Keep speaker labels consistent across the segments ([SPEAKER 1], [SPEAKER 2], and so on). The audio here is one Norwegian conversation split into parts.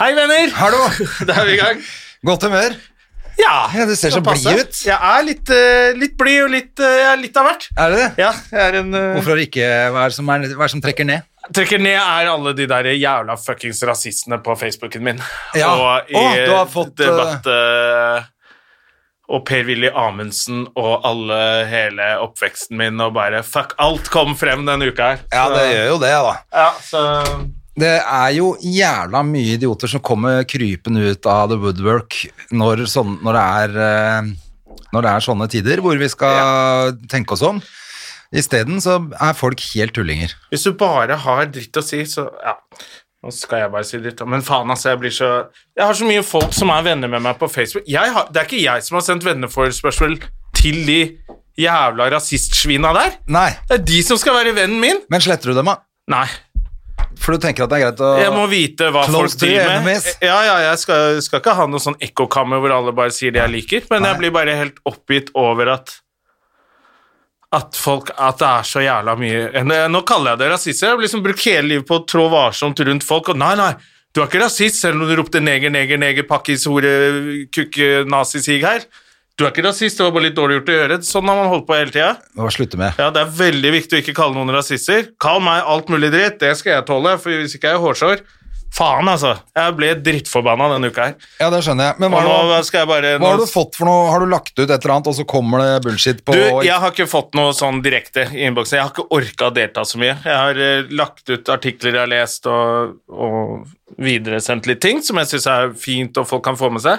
[SPEAKER 1] Hei, venner!
[SPEAKER 2] Hallo!
[SPEAKER 1] Da er vi i gang.
[SPEAKER 2] Godt humør.
[SPEAKER 1] Ja,
[SPEAKER 2] Ja, du ser
[SPEAKER 1] skal
[SPEAKER 2] så blid
[SPEAKER 1] passe.
[SPEAKER 2] ut.
[SPEAKER 1] Jeg er litt, eh, litt blid og litt, eh, jeg er litt av hvert.
[SPEAKER 2] Er det det?
[SPEAKER 1] Ja, jeg er en eh,
[SPEAKER 2] Hvorfor ikke? Hva er det som, er, hva er det som trekker ned?
[SPEAKER 1] Trekker ned er alle de der jævla fuckings rasistene på Facebooken min.
[SPEAKER 2] Ja.
[SPEAKER 1] Og i
[SPEAKER 2] Å, du har fått, eh,
[SPEAKER 1] debatt... eh, og Per-Willy Amundsen og alle hele oppveksten min og bare Fuck, alt kom frem denne uka her.
[SPEAKER 2] Ja, det gjør jo det, da.
[SPEAKER 1] Ja, så...
[SPEAKER 2] Det er jo jævla mye idioter som kommer krypende ut av the woodwork når, sånn, når, det, er, eh, når det er sånne tider hvor vi skal tenke oss om. Isteden så er folk helt tullinger.
[SPEAKER 1] Hvis du bare har dritt å si, så ja. Nå skal jeg bare si dritt, da. men faen, altså. Jeg blir så Jeg har så mye folk som er venner med meg på Facebook. Jeg har, det er ikke jeg som har sendt venneforespørsel til de jævla rasistsvina der.
[SPEAKER 2] Nei,
[SPEAKER 1] Det er de som skal være vennen min.
[SPEAKER 2] men sletter du dem, da?
[SPEAKER 1] Nei.
[SPEAKER 2] For du tenker at det er greit å
[SPEAKER 1] Jeg må vite hva
[SPEAKER 2] Close
[SPEAKER 1] folk
[SPEAKER 2] to your
[SPEAKER 1] driver med.
[SPEAKER 2] enemies.
[SPEAKER 1] Ja, ja, jeg skal, skal ikke ha noe sånn ekkokammer hvor alle bare sier det jeg liker, men jeg
[SPEAKER 2] Nei.
[SPEAKER 1] blir bare helt oppgitt over at at folk, at det er så jævla mye Nå- Nå kaller jeg det rasister. Jeg har liksom brukt hele livet på å trå varsomt rundt folk, og nei, nei, du er ikke rasist, selv om du ropte neger, neger, neger, pakkis, hore, kukke, nazisig her. Du er ikke rasist, det var bare litt dårlig gjort å gjøre. Sånn har man holdt på hele tida.
[SPEAKER 2] Hva slutte med?
[SPEAKER 1] Ja, Det er veldig viktig å ikke kalle noen rasister. Kall meg alt mulig dritt, det skal jeg tåle. For hvis ikke er jeg hårsår. Faen, altså. Jeg ble drittforbanna denne uka her.
[SPEAKER 2] Ja, det skjønner jeg. Men
[SPEAKER 1] Og
[SPEAKER 2] hva,
[SPEAKER 1] nå
[SPEAKER 2] er det-
[SPEAKER 1] skal jeg bare
[SPEAKER 2] hva har
[SPEAKER 1] nå-
[SPEAKER 2] du fått for noe? Har du lagt ut et eller annet, og så kommer det bullshit på
[SPEAKER 1] Du, jeg har ikke fått noe sånn direkte i innboksen. Jeg har ikke orka å delta så mye. Jeg har eh, lagt ut artikler jeg har lest, og, og videresendt litt ting som jeg syns er fint og folk kan få med seg.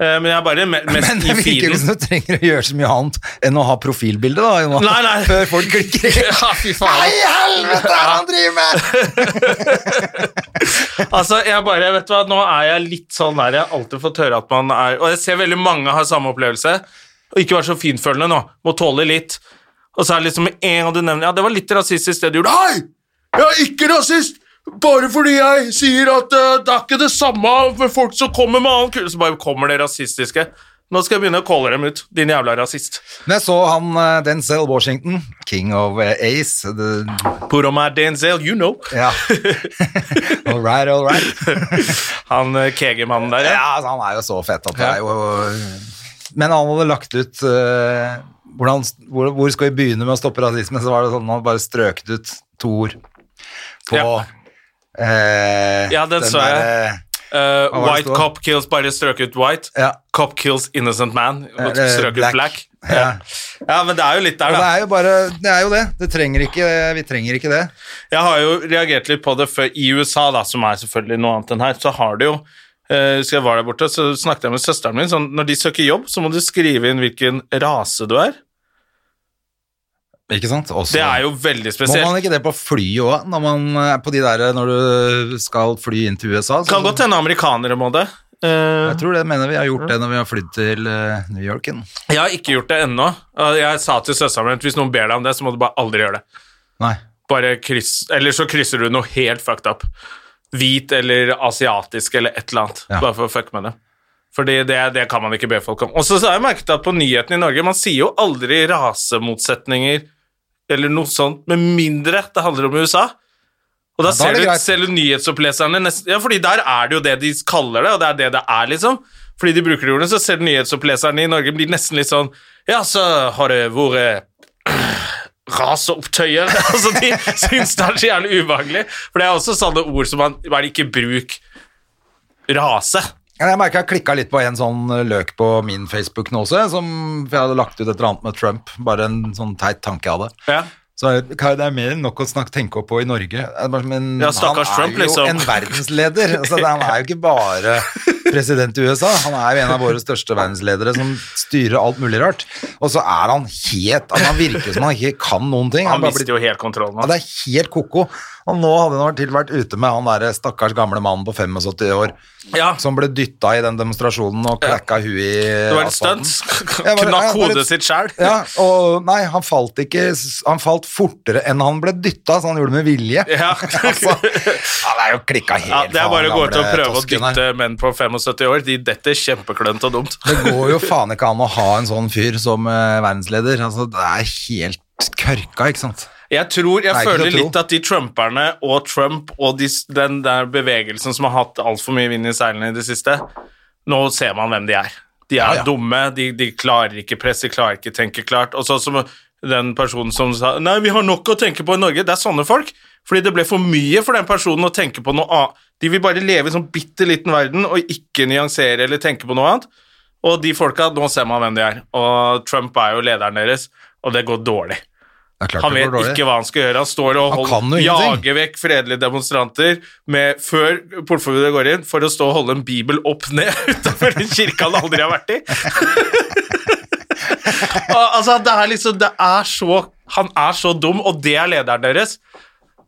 [SPEAKER 1] Eh, Men jeg er bare me mest
[SPEAKER 2] Men det
[SPEAKER 1] i
[SPEAKER 2] virker
[SPEAKER 1] feeden.
[SPEAKER 2] liksom du trenger å gjøre så mye annet enn å ha profilbilde, da. Jonas.
[SPEAKER 1] Nei, nei.
[SPEAKER 2] Før folk klikker.
[SPEAKER 1] Ja, fy faen.
[SPEAKER 2] Nei, helvete, er det han driver med?!
[SPEAKER 1] Altså, jeg bare, vet du hva, Nå er jeg litt sånn der. Jeg har alltid fått høre at man er Og jeg ser veldig mange har samme opplevelse. Og ikke vær så finfølende nå. Må tåle litt. Og så er det liksom med en gang du nevner Ja, det var litt rasistisk det du gjorde. Hei! Jeg er ikke rasist! Bare fordi jeg sier at eh, det er ikke det samme med folk som kommer med annen kule, så bare kommer det rasistiske. Nå skal jeg begynne å calle dem ut. Din jævla rasist.
[SPEAKER 2] Men jeg så han eh, Denzel Washington, king of eh, ace det,
[SPEAKER 1] Put on my Denzel, you know.
[SPEAKER 2] Ja. all right, all right.
[SPEAKER 1] Han eh, kegermannen der, ja.
[SPEAKER 2] Ja, altså, han er jo så fet at det er jo Men han hadde lagt ut eh, hvordan, hvor, hvor skal vi begynne med å stoppe rasismen? Så var det sånn han bare strøket ut to ord på
[SPEAKER 1] Ja.
[SPEAKER 2] eh,
[SPEAKER 1] Ja, den så jeg.
[SPEAKER 2] derre-
[SPEAKER 1] Eh,
[SPEAKER 2] var det
[SPEAKER 1] white
[SPEAKER 2] det sto?
[SPEAKER 1] cop kills, bare strøket ut white.
[SPEAKER 2] Ja.
[SPEAKER 1] Cop kills innocent man.
[SPEAKER 2] Eller
[SPEAKER 1] Strøket black.
[SPEAKER 2] Eh, black.
[SPEAKER 1] Ja. ja, men det er jo litt der,
[SPEAKER 2] Og det
[SPEAKER 1] da.
[SPEAKER 2] er jo bare Det er jo det. det trenger ikke, vi trenger ikke det.
[SPEAKER 1] Jeg har jo reagert litt på det før i USA, da, som er selvfølgelig noe annet enn her. Så har det jo eh, Husker jeg var der borte, så snakket jeg med søsteren min. Sånn, når de søker jobb, så må du skrive inn hvilken rase du er.
[SPEAKER 2] Ikke sant? Også,
[SPEAKER 1] Det er jo veldig
[SPEAKER 2] må
[SPEAKER 1] spesielt.
[SPEAKER 2] man ikke det på fly òg, når man er på de der når du skal fly inn til USA? Så-
[SPEAKER 1] Kan godt hende amerikanere må det. Eh,
[SPEAKER 2] Jeg tror det mener vi har gjort det når vi har flydd til eh, New Yorken.
[SPEAKER 1] jeg har ikke gjort det ennå. Eh, Jeg sa til søsteren min at hvis noen ber deg om det, så må du bare aldri gjøre det.
[SPEAKER 2] Nei.
[SPEAKER 1] bare kryss, eller så krysser du noe helt fucked up. Hvit eller asiatisk eller et eller annet.
[SPEAKER 2] Ja.
[SPEAKER 1] Bare for å fucke med det. Fordi det, det kan man ikke be folk om. Og så har jeg merket at på nyhetene i Norge, man sier jo aldri rasemotsetninger eller noe sånt, med mindre det handler om USA. Og da,
[SPEAKER 2] da er
[SPEAKER 1] ser,
[SPEAKER 2] det
[SPEAKER 1] du,
[SPEAKER 2] greit.
[SPEAKER 1] ser du nyhetsoppleserne nesten Ja, fordi der er det jo det de kaller det, og det er det det er, liksom. Fordi de bruker det ordene, så ser du nyhetsoppleserne i Norge blir nesten litt sånn Ja, så har det vært raseopptøyer. altså, de syns det er så jævlig ubehagelig. For det er også sånne ord som man bare ikke bruk rase.
[SPEAKER 2] Ja, Jeg merka jeg klikka litt på en sånn løk på min Facebook nå også, som, for jeg hadde lagt ut et eller annet med Trump. Bare en sånn teit tanke jeg hadde.
[SPEAKER 1] Ja.
[SPEAKER 2] Så er- hva er det er mer enn nok å snakke, tenke på i Norge. Jeg er bare- Men
[SPEAKER 1] Ja, stakkars
[SPEAKER 2] han er
[SPEAKER 1] Trump,
[SPEAKER 2] jo
[SPEAKER 1] liksom.
[SPEAKER 2] en verdensleder. Altså, det- han er jo ikke bare president i USA. Han er jo en av våre største verdensledere som styrer alt mulig rart. Og så er han helt altså, Han virker som han ikke kan noen ting.
[SPEAKER 1] Han
[SPEAKER 2] bare
[SPEAKER 1] mister
[SPEAKER 2] blir-
[SPEAKER 1] jo helt kontrollen.
[SPEAKER 2] ja,
[SPEAKER 1] altså.
[SPEAKER 2] det er helt koko. Og nå hadde han til vært ute med han der stakkars gamle mannen på 75 år
[SPEAKER 1] altså. Ja.
[SPEAKER 2] som ble dytta i den demonstrasjonen og klekka huet i
[SPEAKER 1] Det var et
[SPEAKER 2] asfalten.
[SPEAKER 1] stunt.
[SPEAKER 2] altså- Ja, var det-
[SPEAKER 1] Knakk
[SPEAKER 2] ja, var det-
[SPEAKER 1] hodet sitt sjæl.
[SPEAKER 2] Ja, og nei, han falt ikke Han falt fortere enn han ble dytta, så han gjorde det med vilje.
[SPEAKER 1] Ja.
[SPEAKER 2] altså, han er jo klikka helt
[SPEAKER 1] Ja, det er
[SPEAKER 2] faen,
[SPEAKER 1] bare å gå ut og
[SPEAKER 2] gamle
[SPEAKER 1] prøve å
[SPEAKER 2] tosken her.
[SPEAKER 1] dytte menn på 75 år. De detter kjempeklønt og dumt.
[SPEAKER 2] Det går jo faen ikke an å ha en sånn fyr som eh, verdensleder. Altså, det er helt kørka, ikke sant?
[SPEAKER 1] Jeg tror, jeg
[SPEAKER 2] Nei, ikke
[SPEAKER 1] føler
[SPEAKER 2] til å tro.
[SPEAKER 1] litt at de trumperne og Trump og de, den der bevegelsen som har hatt altfor mye vind i seilene i det siste, nå ser man hvem de er. De er
[SPEAKER 2] Ja, ja.
[SPEAKER 1] dumme, de, de klarer ikke press, de klarer ikke tenke klart. Og sånn som den personen som sa Nei, vi har nok å tenke på i Norge. Det er sånne folk. Fordi det ble for mye for den personen å tenke på noe annet. De vil bare leve i en sånn bitte liten verden og ikke nyansere eller tenke på noe annet. Og de folka, nå ser man hvem de er. Og Trump er jo lederen deres, og det går dårlig.
[SPEAKER 2] Det er klart
[SPEAKER 1] Han
[SPEAKER 2] det
[SPEAKER 1] vet
[SPEAKER 2] går dårlig.
[SPEAKER 1] ikke hva han skal gjøre. Han står og
[SPEAKER 2] Han kan
[SPEAKER 1] holder,
[SPEAKER 2] jo ingenting.
[SPEAKER 1] jager vekk fredelige demonstranter med, før portforbudet går inn, for å stå og holde en bibel opp ned utenfor en kirke han aldri har vært i. Og, altså, det er liksom Det er så Han er så dum, og det er lederen deres.
[SPEAKER 2] Ja,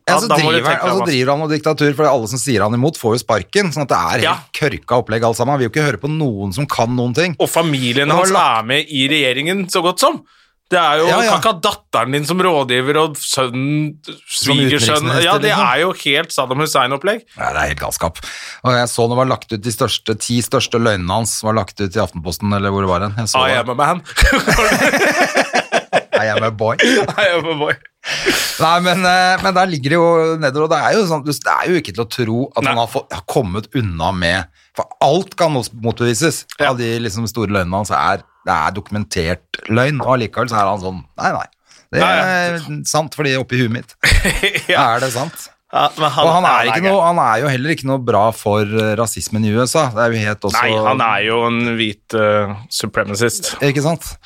[SPEAKER 1] Ja,
[SPEAKER 2] så
[SPEAKER 1] da må du
[SPEAKER 2] driver,
[SPEAKER 1] tenke deg
[SPEAKER 2] og så
[SPEAKER 1] om, ass.
[SPEAKER 2] driver han noe diktatur, for alle som sier han imot, får jo sparken. Sånn at det er helt
[SPEAKER 1] Ja.
[SPEAKER 2] kørka opplegg alt sammen. Han vil jo ikke høre på noen som kan noen ting.
[SPEAKER 1] Og familien
[SPEAKER 2] Det var
[SPEAKER 1] hans
[SPEAKER 2] lagt-
[SPEAKER 1] er med i regjeringen, så godt som. Det er jo,
[SPEAKER 2] Ja, ja.
[SPEAKER 1] Kan ikke ha datteren din som rådgiver og sønnen Svigersønn
[SPEAKER 2] utenriksminister,
[SPEAKER 1] Ja, det
[SPEAKER 2] liksom.
[SPEAKER 1] er jo helt Saddam Hussein-opplegg.
[SPEAKER 2] Nei, det er helt galskap. Og jeg så det var lagt ut de største, ti største løgnene hans var lagt ut i Aftenposten, eller hvor det var hen. Jeg så
[SPEAKER 1] I
[SPEAKER 2] det.
[SPEAKER 1] am a man.
[SPEAKER 2] I am a boy.
[SPEAKER 1] I am a boy.
[SPEAKER 2] Nei, men, eh, men der ligger det jo nedover, og det er jo, sånn, det er jo ikke til å tro at
[SPEAKER 1] Nei.
[SPEAKER 2] han har, fått, har kommet unna med For alt kan mot- motbevises
[SPEAKER 1] Ja.
[SPEAKER 2] av de liksom, store løgnene hans. Er, det er dokumentert løgn, og allikevel så er han sånn Nei, nei. Det
[SPEAKER 1] Nei,
[SPEAKER 2] er sant, fordi oppi huet mitt
[SPEAKER 1] Ja.
[SPEAKER 2] er det sant.
[SPEAKER 1] Ja, men
[SPEAKER 2] Og han er,
[SPEAKER 1] han
[SPEAKER 2] ikke noe, han er jo heller ikke noe bra for eh, rasismen i USA. Det er jo helt også
[SPEAKER 1] Nei, han er jo en hvit eh, supremacist,
[SPEAKER 2] Ikke sant?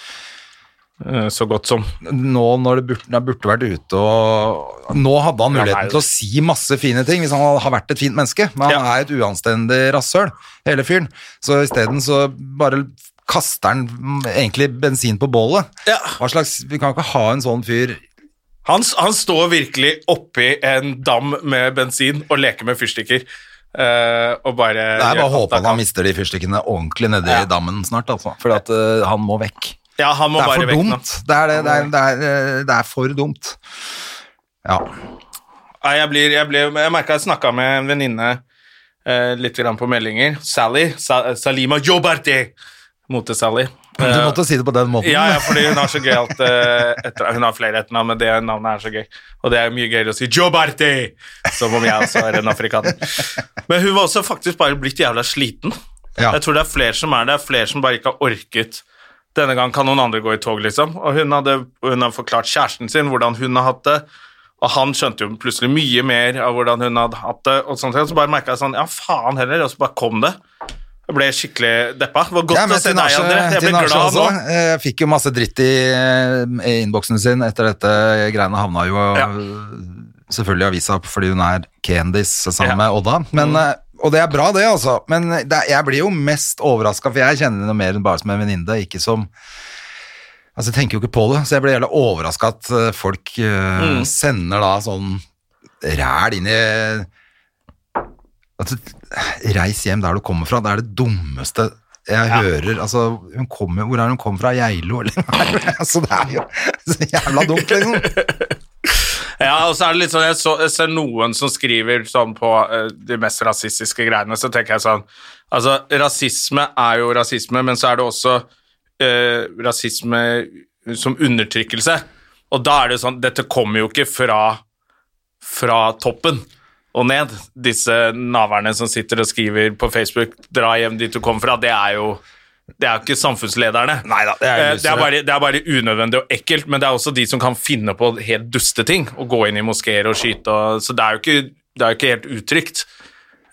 [SPEAKER 1] eh, så godt som.
[SPEAKER 2] nå når det burde, han burde vært ute og Nå hadde han
[SPEAKER 1] Ja,
[SPEAKER 2] muligheten
[SPEAKER 1] nei.
[SPEAKER 2] til å si masse fine ting hvis han har vært et fint menneske, men han
[SPEAKER 1] Ja.
[SPEAKER 2] er et uanstendig rasshøl, hele fyren. Så isteden så bare kaster han mm, egentlig bensin på bålet.
[SPEAKER 1] Ja.
[SPEAKER 2] Hva slags Vi kan ikke ha en sånn fyr
[SPEAKER 1] Han, s- han står virkelig oppi en dam med bensin og leker med fyrstikker. eh, og bare
[SPEAKER 2] Det er bare å håpe at han
[SPEAKER 1] mister
[SPEAKER 2] mister de fyrstikkene ordentlig nedi dammen snart, altså. For at eh, han må vekk.
[SPEAKER 1] Ja, han må
[SPEAKER 2] Det er
[SPEAKER 1] bare
[SPEAKER 2] for
[SPEAKER 1] vekk nå.
[SPEAKER 2] dumt. Det er, det, det, er, det, er, eh, det er for dumt. Ja.
[SPEAKER 1] Nei, jeg, blir, jeg, blir, jeg merka jeg snakka med en venninne eh, litt grann på meldinger. Sally. Sa, Salima Jobberte! Mote-Sally.
[SPEAKER 2] Du måtte si det på den måten.
[SPEAKER 1] Eh. Ja, ja, fordi hun har så gøyalt uh, etter, Hun har flere etternavn, men det navnet er så gøy. Og det er mye gøyere å si Jobarti! Som om jeg også er altså en afrikaner. Men hun var også faktisk bare blitt jævla sliten.
[SPEAKER 2] Ja.
[SPEAKER 1] Jeg tror det er flere som er det. Det er flere som bare ikke har orket. Denne gang kan noen andre gå i tog, liksom. Og hun hadde, hun hadde forklart kjæresten sin hvordan hun har hatt det. Og han skjønte jo plutselig mye mer av hvordan hun hadde hatt det. og sånt. Og så bare merka jeg sånn Ja, faen heller. Og så bare kom det. Jeg ble skikkelig deppa. Det var godt
[SPEAKER 2] Ja, men
[SPEAKER 1] å se
[SPEAKER 2] Tinashe-
[SPEAKER 1] deg, André. Jeg ble
[SPEAKER 2] Tinashe
[SPEAKER 1] glad nå.
[SPEAKER 2] også, eh, fikk jo masse dritt i, eh, i innboksen sin etter dette greiene. Havna jo
[SPEAKER 1] Ja.
[SPEAKER 2] eh, selvfølgelig i avisa fordi hun er Candice
[SPEAKER 1] Ja.
[SPEAKER 2] sammen
[SPEAKER 1] Mm.
[SPEAKER 2] med Odda. Men, eh, Og det er bra, det, altså. Men det, er- jeg blir jo mest overraska, for jeg kjenner henne mer enn bare som en venninne. Ikke som Altså, jeg tenker jo ikke på det, så jeg blir jævla overraska at eh, folk eh,
[SPEAKER 1] Mm.
[SPEAKER 2] sender da sånn ræl inn i at du, Altså, Reis hjem der du kommer fra. Det er det dummeste jeg hører. Altså, hun kommer, hvor er hun kommer fra? Geilo, eller? altså, det er jo så jævla dumt, liksom.
[SPEAKER 1] Ja, og så er det litt sånn, jeg, så, jeg ser noen som skriver sånn på eh, de mest rasistiske greiene, så tenker jeg sånn, altså rasisme er jo rasisme, men så er det også eh, rasisme som undertrykkelse. Og da er det jo sånn, dette kommer jo ikke fra, fra toppen og ned. Disse naverne som sitter og skriver på Facebook, dra hjem dit du kom fra, det er jo... Det er jo ikke samfunnslederne.
[SPEAKER 2] Neida, det er
[SPEAKER 1] Eh, det,
[SPEAKER 2] lysere.
[SPEAKER 1] er bare, det er bare unødvendig og ekkelt, men det er også de som kan finne på helt duste ting, og gå inn i moskeer og skyte, og, så det er jo ikke, det er jo ikke helt utrygt.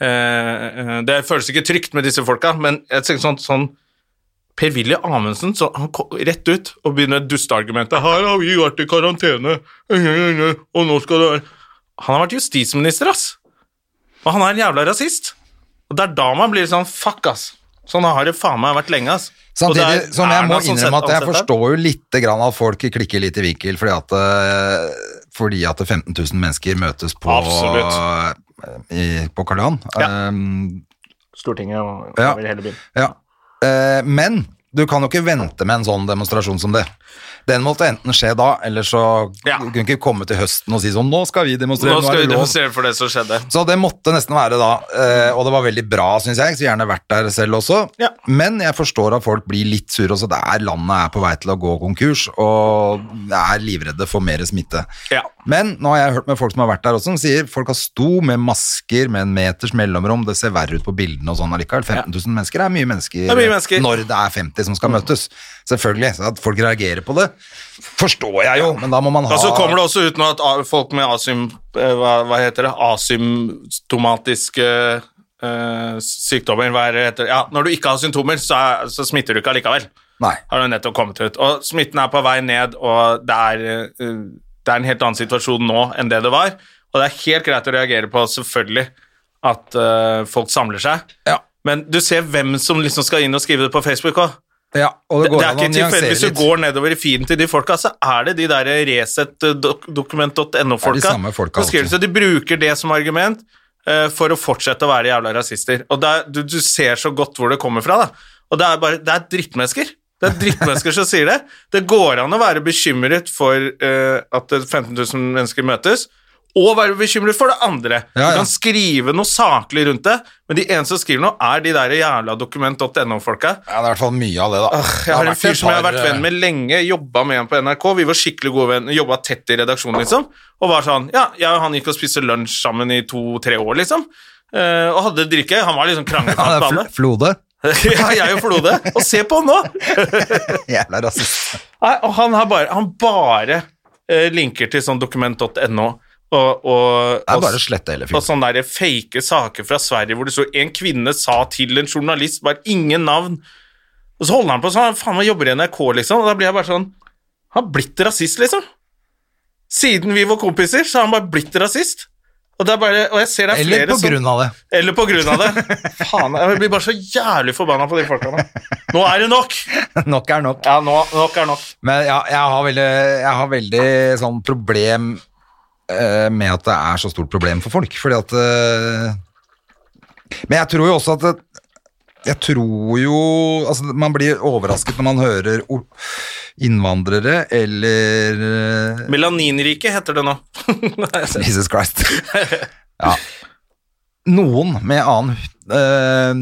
[SPEAKER 1] Eh, eh, det føles ikke trygt med disse folka, men jeg tenker sånn, sånn Per-Willy Amundsen, så han kom rett ut og begynner dusteargumentet. Her har vi vært i karantene, og nå skal det være... Han har vært justisminister, ass. Og han er en jævla rasist. Og det er da man blir sånn, fuck, ass. Sånn har det faen meg vært lenge, ass. Og det sånn er
[SPEAKER 2] Samtidig som jeg
[SPEAKER 1] Erna
[SPEAKER 2] må
[SPEAKER 1] som
[SPEAKER 2] innrømme at jeg
[SPEAKER 1] setter- ansetter.
[SPEAKER 2] forstår jo lite grann at folk klikker litt i vinkel, fordi at eh, fordi at 15 000 mennesker møtes på, eh,
[SPEAKER 1] Absolutt.
[SPEAKER 2] i, på Karl Johan.
[SPEAKER 1] Ja.
[SPEAKER 2] Ehm,
[SPEAKER 1] Stortinget og
[SPEAKER 2] Ja.
[SPEAKER 1] over hele byen.
[SPEAKER 2] ja. Eh, men du kan jo ikke vente med en sånn demonstrasjon som det. Den måtte enten skje da, eller så
[SPEAKER 1] Ja.
[SPEAKER 2] du kunne ikke komme til høsten og si sånn Nå skal vi demonstrere,
[SPEAKER 1] Nå
[SPEAKER 2] nå,
[SPEAKER 1] skal
[SPEAKER 2] er
[SPEAKER 1] vi
[SPEAKER 2] det lov.
[SPEAKER 1] demonstrere for det som skjedde.
[SPEAKER 2] Så det måtte nesten være da, eh, og det var veldig bra, syns jeg. Skulle gjerne vært der selv også.
[SPEAKER 1] Ja.
[SPEAKER 2] Men jeg forstår at folk blir litt sure også. Det er landet er på vei til å gå konkurs, og er livredde for mer smitte.
[SPEAKER 1] Ja.
[SPEAKER 2] Men nå har jeg hørt med folk som har vært der også, som sier folk har sto med masker med en meters mellomrom, det ser verre ut på bildene og sånn allikevel. 15 000 mennesker er mye mennesker,
[SPEAKER 1] er mye mennesker. Mm.
[SPEAKER 2] når det er 50 som skal møtes. Selvfølgelig. Så at folk reagerer på det, forstår jeg jo, men da må man ha
[SPEAKER 1] Og så kommer det også ut nå at a- folk med asym, eh, hva, hva heter det? asymptomatiske eh, sykdommer hva er det heter? Ja, Når du ikke har symptomer, så, er, så smitter du ikke allikevel.
[SPEAKER 2] Nei.
[SPEAKER 1] Har det nettopp kommet ut. Og smitten er på vei ned, og det er, eh, det er en helt annen situasjon nå enn det det var. Og det er helt greit å reagere på, selvfølgelig, at eh, folk samler seg.
[SPEAKER 2] Ja.
[SPEAKER 1] Men du ser hvem som liksom skal inn og skrive det på Facebook òg.
[SPEAKER 2] Ja, og det
[SPEAKER 1] Det,
[SPEAKER 2] går
[SPEAKER 1] det er
[SPEAKER 2] an å
[SPEAKER 1] ikke
[SPEAKER 2] nyansere
[SPEAKER 1] tilfeldig hvis du
[SPEAKER 2] litt.
[SPEAKER 1] går nedover i feeden til de folka, så er det de der resetdokument.no-folka.
[SPEAKER 2] Det er de samme folka altså.
[SPEAKER 1] Så skriver de-
[SPEAKER 2] alltid.
[SPEAKER 1] så de bruker det som argument eh, for å fortsette å være jævla rasister. Og det er, du, du ser så godt hvor det kommer fra, da. Og det er bare Det er drittmennesker. Det er drittmennesker som sier det. Det går an å være bekymret for eh, at 15 000 mennesker møtes. Og være bekymret for det andre.
[SPEAKER 2] Ja, ja.
[SPEAKER 1] Du kan skrive noe saklig rundt det, men de eneste som skriver noe, er de der jævla dokument.no-folka.
[SPEAKER 2] Ja, det er i hvert fall mye av det, da.
[SPEAKER 1] Jeg har en fyr som jeg har
[SPEAKER 2] eh.
[SPEAKER 1] vært venn med lenge, jobba med han på NRK. Vi var skikkelig gode venner, jobba tett i redaksjonen, liksom. Og var sånn Ja, jeg og han gikk og spiste lunsj sammen i to-tre år, liksom. Eh, og hadde drikke. Han var liksom
[SPEAKER 2] Ja,
[SPEAKER 1] kranglefant
[SPEAKER 2] det
[SPEAKER 1] på
[SPEAKER 2] er
[SPEAKER 1] alle.
[SPEAKER 2] fl Flode.
[SPEAKER 1] ja, jeg og Flode. Og se på han nå!
[SPEAKER 2] Jævla rasist.
[SPEAKER 1] Nei, og han har bare, han bare eh, linker til sånn dokument.no og, og,
[SPEAKER 2] Det
[SPEAKER 1] og-
[SPEAKER 2] er bare å slette hele
[SPEAKER 1] og
[SPEAKER 2] fyren.
[SPEAKER 1] sånne der fake saker fra Sverige hvor det så en kvinne sa til en journalist bare ingen navn. Og så holder han på sånn, faen meg jobber i NRK, liksom. Og da blir jeg bare sånn Han har blitt rasist, liksom. Siden vi var kompiser, så har han bare blitt rasist. Og, det er bare, og jeg ser det er
[SPEAKER 2] Eller
[SPEAKER 1] flere
[SPEAKER 2] på grunn av det.
[SPEAKER 1] Som, eller på grunn av det. faen, jeg blir bare så jævlig forbanna på de folka nå. Nå er det nok!
[SPEAKER 2] Nok er nok.
[SPEAKER 1] Ja, nå, nok er nok.
[SPEAKER 2] Men ja, jeg har veldig, jeg har veldig sånn problem eh, med at det er så stort problem for folk, fordi at eh, Men jeg tror jo også at det, Jeg tror jo Altså, man blir overrasket når man hører o- innvandrere eller eh,
[SPEAKER 1] Melaninrike heter det nå. Nei, jeg ser-
[SPEAKER 2] Jesus Christ. ja. Noen med annen eh,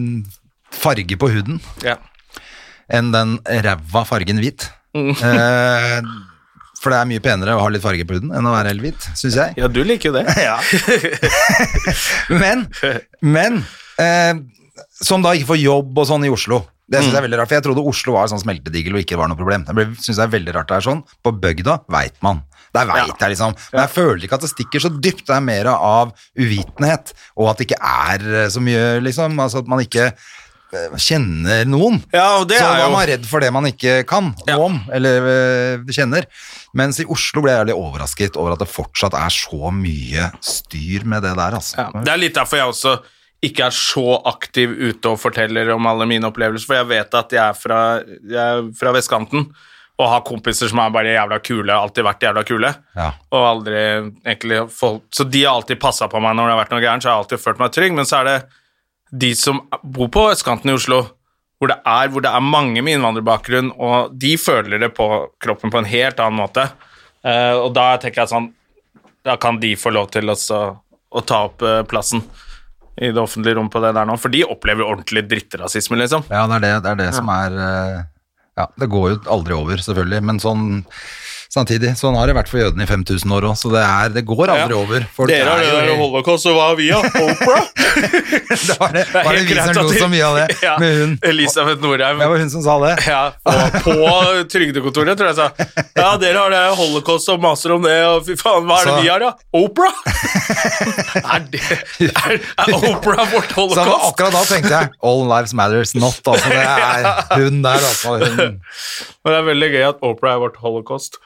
[SPEAKER 2] farge på huden
[SPEAKER 1] ja.
[SPEAKER 2] enn den ræva fargen hvit. Eh, for det er mye penere å ha litt farge på huden enn å være helt hvit, syns jeg.
[SPEAKER 1] ja, du liker jo det.
[SPEAKER 2] Men, men eh, som da ikke får jobb og sånn i Oslo. Det
[SPEAKER 1] Mm.
[SPEAKER 2] synes jeg er veldig rart, for jeg trodde Oslo var en sånn smeltedigel og ikke var noe problem. Det ble- synes jeg er veldig rart det er sånn. På bygda veit man. Der veit jeg liksom. Men jeg føler ikke at det stikker så dypt. Det er mer av uvitenhet, og at det ikke er eh, så mye, liksom. Altså at man ikke eh, kjenner noen.
[SPEAKER 1] Ja, og det
[SPEAKER 2] så
[SPEAKER 1] er
[SPEAKER 2] var
[SPEAKER 1] jo
[SPEAKER 2] man redd for det man ikke kan noe
[SPEAKER 1] Ja.
[SPEAKER 2] om, eller eh, kjenner. Mens i Oslo ble jeg veldig overrasket over at det fortsatt er så mye styr med det der, altså.
[SPEAKER 1] Det er litt derfor jeg også ikke er så aktiv ute og forteller om alle mine opplevelser, for jeg vet at jeg er fra, jeg er fra vestkanten og har kompiser som er bare jævla kule, alltid vært jævla kule.
[SPEAKER 2] Ja.
[SPEAKER 1] Og aldri egentlig folk, Så de har alltid passa på meg når det har vært noe gærent, så jeg har alltid følt meg trygg, men så er det de som bor på østkanten i Oslo, hvor det er, hvor det er mange med innvandrerbakgrunn, og de føler det på kroppen på en helt annen måte. Eh, og da tenker jeg sånn Da kan de få lov til også, å ta opp eh, plassen i det offentlige rom på det der nå, for de opplever ordentlig drittrasisme, liksom.
[SPEAKER 2] Ja, det er det, det, er det som er eh, Ja, det går jo aldri over, selvfølgelig, men sånn Samtidig, sånn har det vært for jødene i 5000 år òg, så det, er, det går aldri
[SPEAKER 1] Ja.
[SPEAKER 2] over. Folk
[SPEAKER 1] Dere har
[SPEAKER 2] er
[SPEAKER 1] det
[SPEAKER 2] jo-
[SPEAKER 1] der holocaust, og hva har vi da? Opera?
[SPEAKER 2] det var
[SPEAKER 1] Det
[SPEAKER 2] det,
[SPEAKER 1] er
[SPEAKER 2] var det
[SPEAKER 1] helt
[SPEAKER 2] vi
[SPEAKER 1] greit
[SPEAKER 2] som
[SPEAKER 1] at
[SPEAKER 2] lo
[SPEAKER 1] de-
[SPEAKER 2] så mye av det
[SPEAKER 1] Ja,
[SPEAKER 2] med hun.
[SPEAKER 1] Elisabeth Norheim.
[SPEAKER 2] Det var hun som sa det.
[SPEAKER 1] Ja, på, på trygdekontoret, tror jeg sa. Ja, dere har det holocaust og maser om det, og fy faen, hva er det
[SPEAKER 2] Så-
[SPEAKER 1] vi har, da? Opera? er, det, er, er opera vårt
[SPEAKER 2] Så det var
[SPEAKER 1] holocaust?
[SPEAKER 2] akkurat da tenkte jeg All lives matters not, altså. Det er hun der, altså. Hun.
[SPEAKER 1] Men det er veldig gøy at opera er vårt holocaust.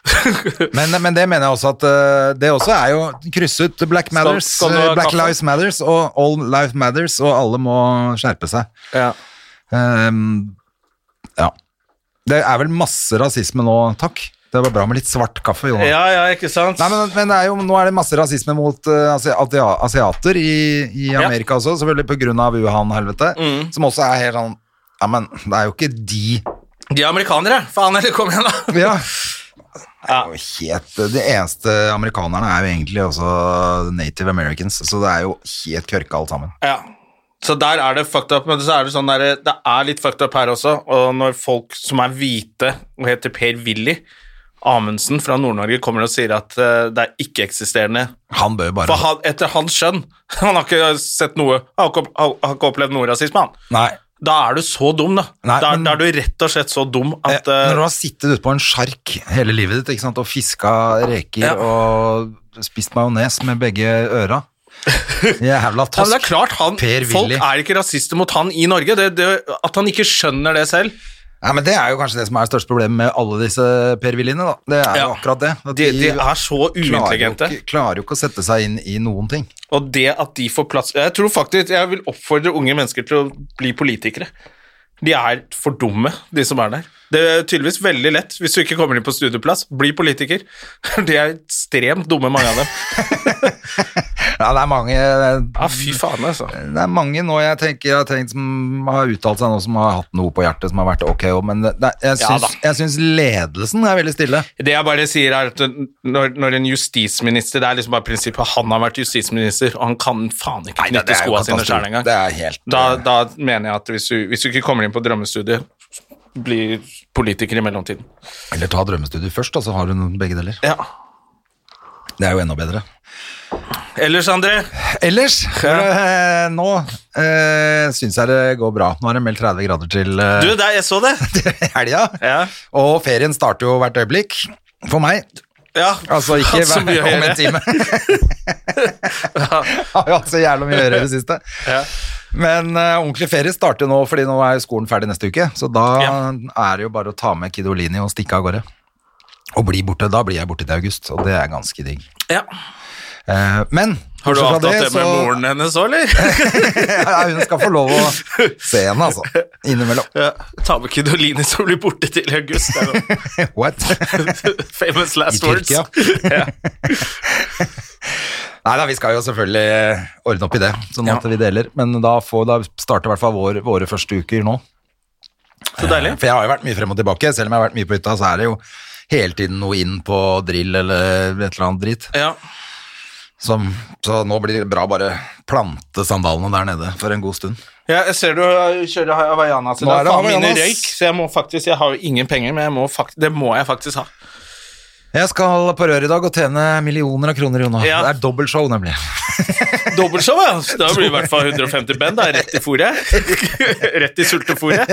[SPEAKER 2] Men, men det mener jeg også at eh, Det også er jo krysset Black Matters,
[SPEAKER 1] skal du ha
[SPEAKER 2] eh, Black
[SPEAKER 1] kaffe?
[SPEAKER 2] Lives Matters og All Lives Matters, og alle må skjerpe seg.
[SPEAKER 1] ja.
[SPEAKER 2] Ehm, ja. Det er vel masse rasisme nå, takk. Det var bra med litt svart kaffe, Jonas.
[SPEAKER 1] Ja, ja, ikke sant?
[SPEAKER 2] Nei, men, men det er jo, nå er det masse rasisme mot eh, asi- atia- asiater i, i
[SPEAKER 1] Ja. Mm.
[SPEAKER 2] Amerika også, selvfølgelig på grunn av Wuhan-helvete, som også er helt sånn Ja, men det er jo ikke de
[SPEAKER 1] De er amerikanere! Faen heller, kom igjen, da!
[SPEAKER 2] Ja. Det er jo helt De eneste amerikanerne er jo egentlig også native americans, så det er jo helt kørka alt sammen.
[SPEAKER 1] Ja. Så der er det fucked up, men så er det sånn der, det er litt fucked up her også. Og når folk som er hvite og heter Per-Willy Amundsen fra Nord-Norge kommer og sier at eh, det er ikke-eksisterende
[SPEAKER 2] Han bør jo bare
[SPEAKER 1] For han, etter hans skjønn Han har ikke sett noe Han har ikke, opp- han har ikke opplevd noe rasisme, han.
[SPEAKER 2] Nei.
[SPEAKER 1] Da er du så dum, da.
[SPEAKER 2] Nei,
[SPEAKER 1] da, er-
[SPEAKER 2] men-
[SPEAKER 1] da er du rett og slett så dum
[SPEAKER 2] Eh,
[SPEAKER 1] at eh,
[SPEAKER 2] Når du har sittet ute på en sjark hele livet ditt ikke sant, og fiska reker
[SPEAKER 1] Ja.
[SPEAKER 2] og spist majones med begge øra Jævla
[SPEAKER 1] ja, men det
[SPEAKER 2] tosk.
[SPEAKER 1] er klart, han,
[SPEAKER 2] Per
[SPEAKER 1] Folk
[SPEAKER 2] Willy.
[SPEAKER 1] er ikke rasister mot han i Norge. Det, det, at han ikke skjønner det selv.
[SPEAKER 2] Nei, men Det er jo kanskje det som er det største problemet med alle disse Per Willyene. da. Det er jo
[SPEAKER 1] Ja.
[SPEAKER 2] akkurat det. at
[SPEAKER 1] De, de er så
[SPEAKER 2] klarer jo,
[SPEAKER 1] uintelligente.
[SPEAKER 2] ikke, klarer jo ikke å sette seg inn i noen ting.
[SPEAKER 1] Og det at de får plass Jeg tror faktisk Jeg vil oppfordre unge mennesker til å bli politikere. De er for dumme, de som er der. Det er tydeligvis veldig lett hvis du ikke kommer inn på studieplass. Bli politiker. De er ekstremt dumme, mange av dem.
[SPEAKER 2] Ja, det er mange
[SPEAKER 1] Ja, fy faen, altså.
[SPEAKER 2] det er mange nå jeg tenker jeg har tenkt som har uttalt seg nå, som har hatt noe på hjertet som har vært ok òg, men det, det, jeg,
[SPEAKER 1] Ja,
[SPEAKER 2] syns, jeg syns ledelsen er veldig stille.
[SPEAKER 1] Det jeg bare sier er at når, når en justisminister Det er liksom bare prinsippet han har vært justisminister, og han kan faen ikke
[SPEAKER 2] det
[SPEAKER 1] knytte
[SPEAKER 2] er jo
[SPEAKER 1] skoa sine
[SPEAKER 2] katastrofe.
[SPEAKER 1] sjøl engang.
[SPEAKER 2] Det er helt- eh,
[SPEAKER 1] da, da mener jeg at hvis du, hvis du ikke kommer inn på drømmestudiet, bli politiker i mellomtiden.
[SPEAKER 2] Eller ta drømmestudiet først, og så har hun begge deler.
[SPEAKER 1] Ja.
[SPEAKER 2] Det er jo enda bedre.
[SPEAKER 1] Ellers, André
[SPEAKER 2] Ellers, øh, nå øh, syns jeg det går bra. Nå er det meldt 30 grader til
[SPEAKER 1] Du,
[SPEAKER 2] øh,
[SPEAKER 1] der, jeg så det.
[SPEAKER 2] helga,
[SPEAKER 1] Ja.
[SPEAKER 2] og ferien starter jo hvert øyeblikk. For meg.
[SPEAKER 1] Ja.
[SPEAKER 2] Altså ikke
[SPEAKER 1] Så mye
[SPEAKER 2] hver, om
[SPEAKER 1] høyere.
[SPEAKER 2] en time. Har jo hatt så jævla mye å gjøre i det siste.
[SPEAKER 1] Ja.
[SPEAKER 2] Men øh, ordentlig ferie starter jo nå, fordi nå er jo skolen ferdig neste uke. Så da
[SPEAKER 1] Ja.
[SPEAKER 2] er det jo bare å ta med Kidolini og stikke av gårde. Og bli borte. Da blir jeg borte til august, og det er ganske digg.
[SPEAKER 1] Ja.
[SPEAKER 2] Eh, men
[SPEAKER 1] Har du
[SPEAKER 2] bortsett fra
[SPEAKER 1] avtalt det med
[SPEAKER 2] så-
[SPEAKER 1] moren hennes òg, eller?
[SPEAKER 2] ja, hun skal få lov å se henne, altså. Innimellom.
[SPEAKER 1] Ja. Ta med Kidolini som blir borte til august. det er jo
[SPEAKER 2] What?
[SPEAKER 1] Famous last
[SPEAKER 2] I
[SPEAKER 1] words.
[SPEAKER 2] Tyrkia.
[SPEAKER 1] Ja.
[SPEAKER 2] Nei da, vi skal jo selvfølgelig eh, ordne opp i det, sånn at vi deler. Men da, får, da starter i hvert fall vår, våre første uker nå. Eh,
[SPEAKER 1] Så deilig.
[SPEAKER 2] For jeg har jo vært mye frem og tilbake. Selv om jeg har vært mye på hytta, så er det jo hele tiden noe inn på drill eller et eller annet drit.
[SPEAKER 1] Ja.
[SPEAKER 2] Som, så nå blir det bra bare plante sandalene der nede for en god stund.
[SPEAKER 1] Ja, jeg ser du kjører Havaianas i
[SPEAKER 2] Nå
[SPEAKER 1] dag.
[SPEAKER 2] er det
[SPEAKER 1] Faen, mine
[SPEAKER 2] Havaianas.
[SPEAKER 1] røyk, så jeg må faktisk Jeg har jo ingen penger, men jeg må fakt det må jeg faktisk ha.
[SPEAKER 2] Jeg skal på rør i dag og tjene millioner av kroner, Jona.
[SPEAKER 1] Ja.
[SPEAKER 2] Det er dobbeltshow, nemlig.
[SPEAKER 1] Dobbeltshow, ja! Så Da blir det i hvert fall 150 band, da. Rett i fôret. Rett i sultefôret.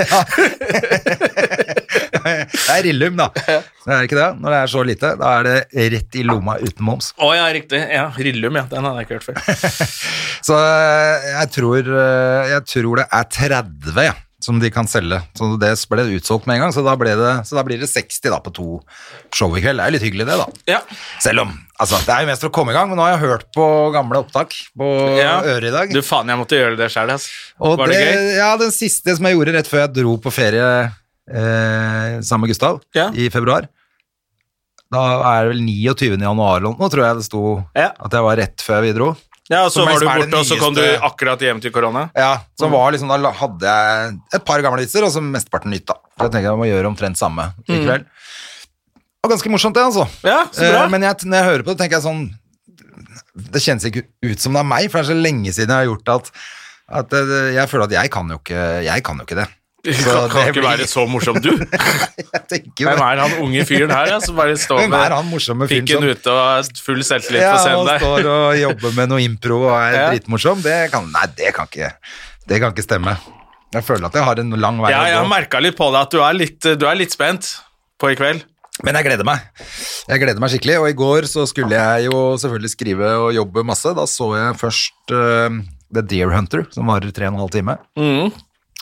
[SPEAKER 2] Det er Rillum, da. Det er ikke det. Når det er så lite, da er det rett i lomma uten moms.
[SPEAKER 1] Å ja, riktig. Ja, Rillum, ja. Den hadde jeg ikke hørt før.
[SPEAKER 2] Så eh, jeg tror, eh, jeg tror det er 30 ja, som de kan selge. Så det ble utsolgt med en gang, så da, ble det, så da blir det 60 da, på to show i kveld. Det er jo litt hyggelig, det, da.
[SPEAKER 1] Ja.
[SPEAKER 2] Selv om altså, Det er jo mest for å komme i gang, men nå har jeg hørt på gamle opptak på
[SPEAKER 1] Ja.
[SPEAKER 2] øret i dag.
[SPEAKER 1] Du, faen, jeg måtte gjøre det sjøl, ass.
[SPEAKER 2] Og
[SPEAKER 1] Var det, gøy?
[SPEAKER 2] Ja, den siste som jeg gjorde rett før jeg dro på ferie eh, sammen med Gustav
[SPEAKER 1] Ja.
[SPEAKER 2] i februar. Da er det vel 29. januar eller noe, Nå tror jeg det sto
[SPEAKER 1] Ja.
[SPEAKER 2] at jeg var rett før vi dro.
[SPEAKER 1] Ja, og så
[SPEAKER 2] Som
[SPEAKER 1] var du
[SPEAKER 2] er- som er det
[SPEAKER 1] borte, og så kom du
[SPEAKER 2] nyeste-
[SPEAKER 1] akkurat hjem til korona.
[SPEAKER 2] Ja, så
[SPEAKER 1] Mm.
[SPEAKER 2] var liksom, Da hadde jeg et par gamle vitser, og så mesteparten nytt. da. Så jeg tenker jeg må gjøre omtrent samme i kveld. Og ganske morsomt, det, altså.
[SPEAKER 1] Ja, Mm. så bra.
[SPEAKER 2] Eh, Men jeg, når jeg hører på det, tenker jeg sånn Det kjennes ikke ut som det er meg, for det er så lenge siden jeg har gjort at, at eh, jeg føler at jeg kan jo ikke, jeg kan jo ikke det.
[SPEAKER 1] Det
[SPEAKER 2] Så
[SPEAKER 1] kan, kan
[SPEAKER 2] det
[SPEAKER 1] ikke
[SPEAKER 2] blir-
[SPEAKER 1] være så morsom, du.
[SPEAKER 2] Jeg tenker jo
[SPEAKER 1] Hvem
[SPEAKER 2] det.
[SPEAKER 1] er han unge fyren her, ja, som bare står
[SPEAKER 2] Hvem er han morsomme
[SPEAKER 1] med
[SPEAKER 2] fyren
[SPEAKER 1] pikken
[SPEAKER 2] som-
[SPEAKER 1] ute og har full selvtillit
[SPEAKER 2] Ja,
[SPEAKER 1] på
[SPEAKER 2] han
[SPEAKER 1] scenen der?
[SPEAKER 2] står og jobber med noe impro og er
[SPEAKER 1] Ja.
[SPEAKER 2] dritmorsom. Det kan, nei, det kan, ikke, det kan ikke stemme. Jeg føler at jeg har en lang vei
[SPEAKER 1] Ja, jeg
[SPEAKER 2] å
[SPEAKER 1] har
[SPEAKER 2] gå.
[SPEAKER 1] merka litt på deg at du er litt, du er litt spent på i kveld.
[SPEAKER 2] Men jeg gleder meg. Jeg gleder meg skikkelig. Og i går så skulle jeg jo selvfølgelig skrive og jobbe masse. Da så jeg først eh, The Deer Hunter, som varer tre og en halv time.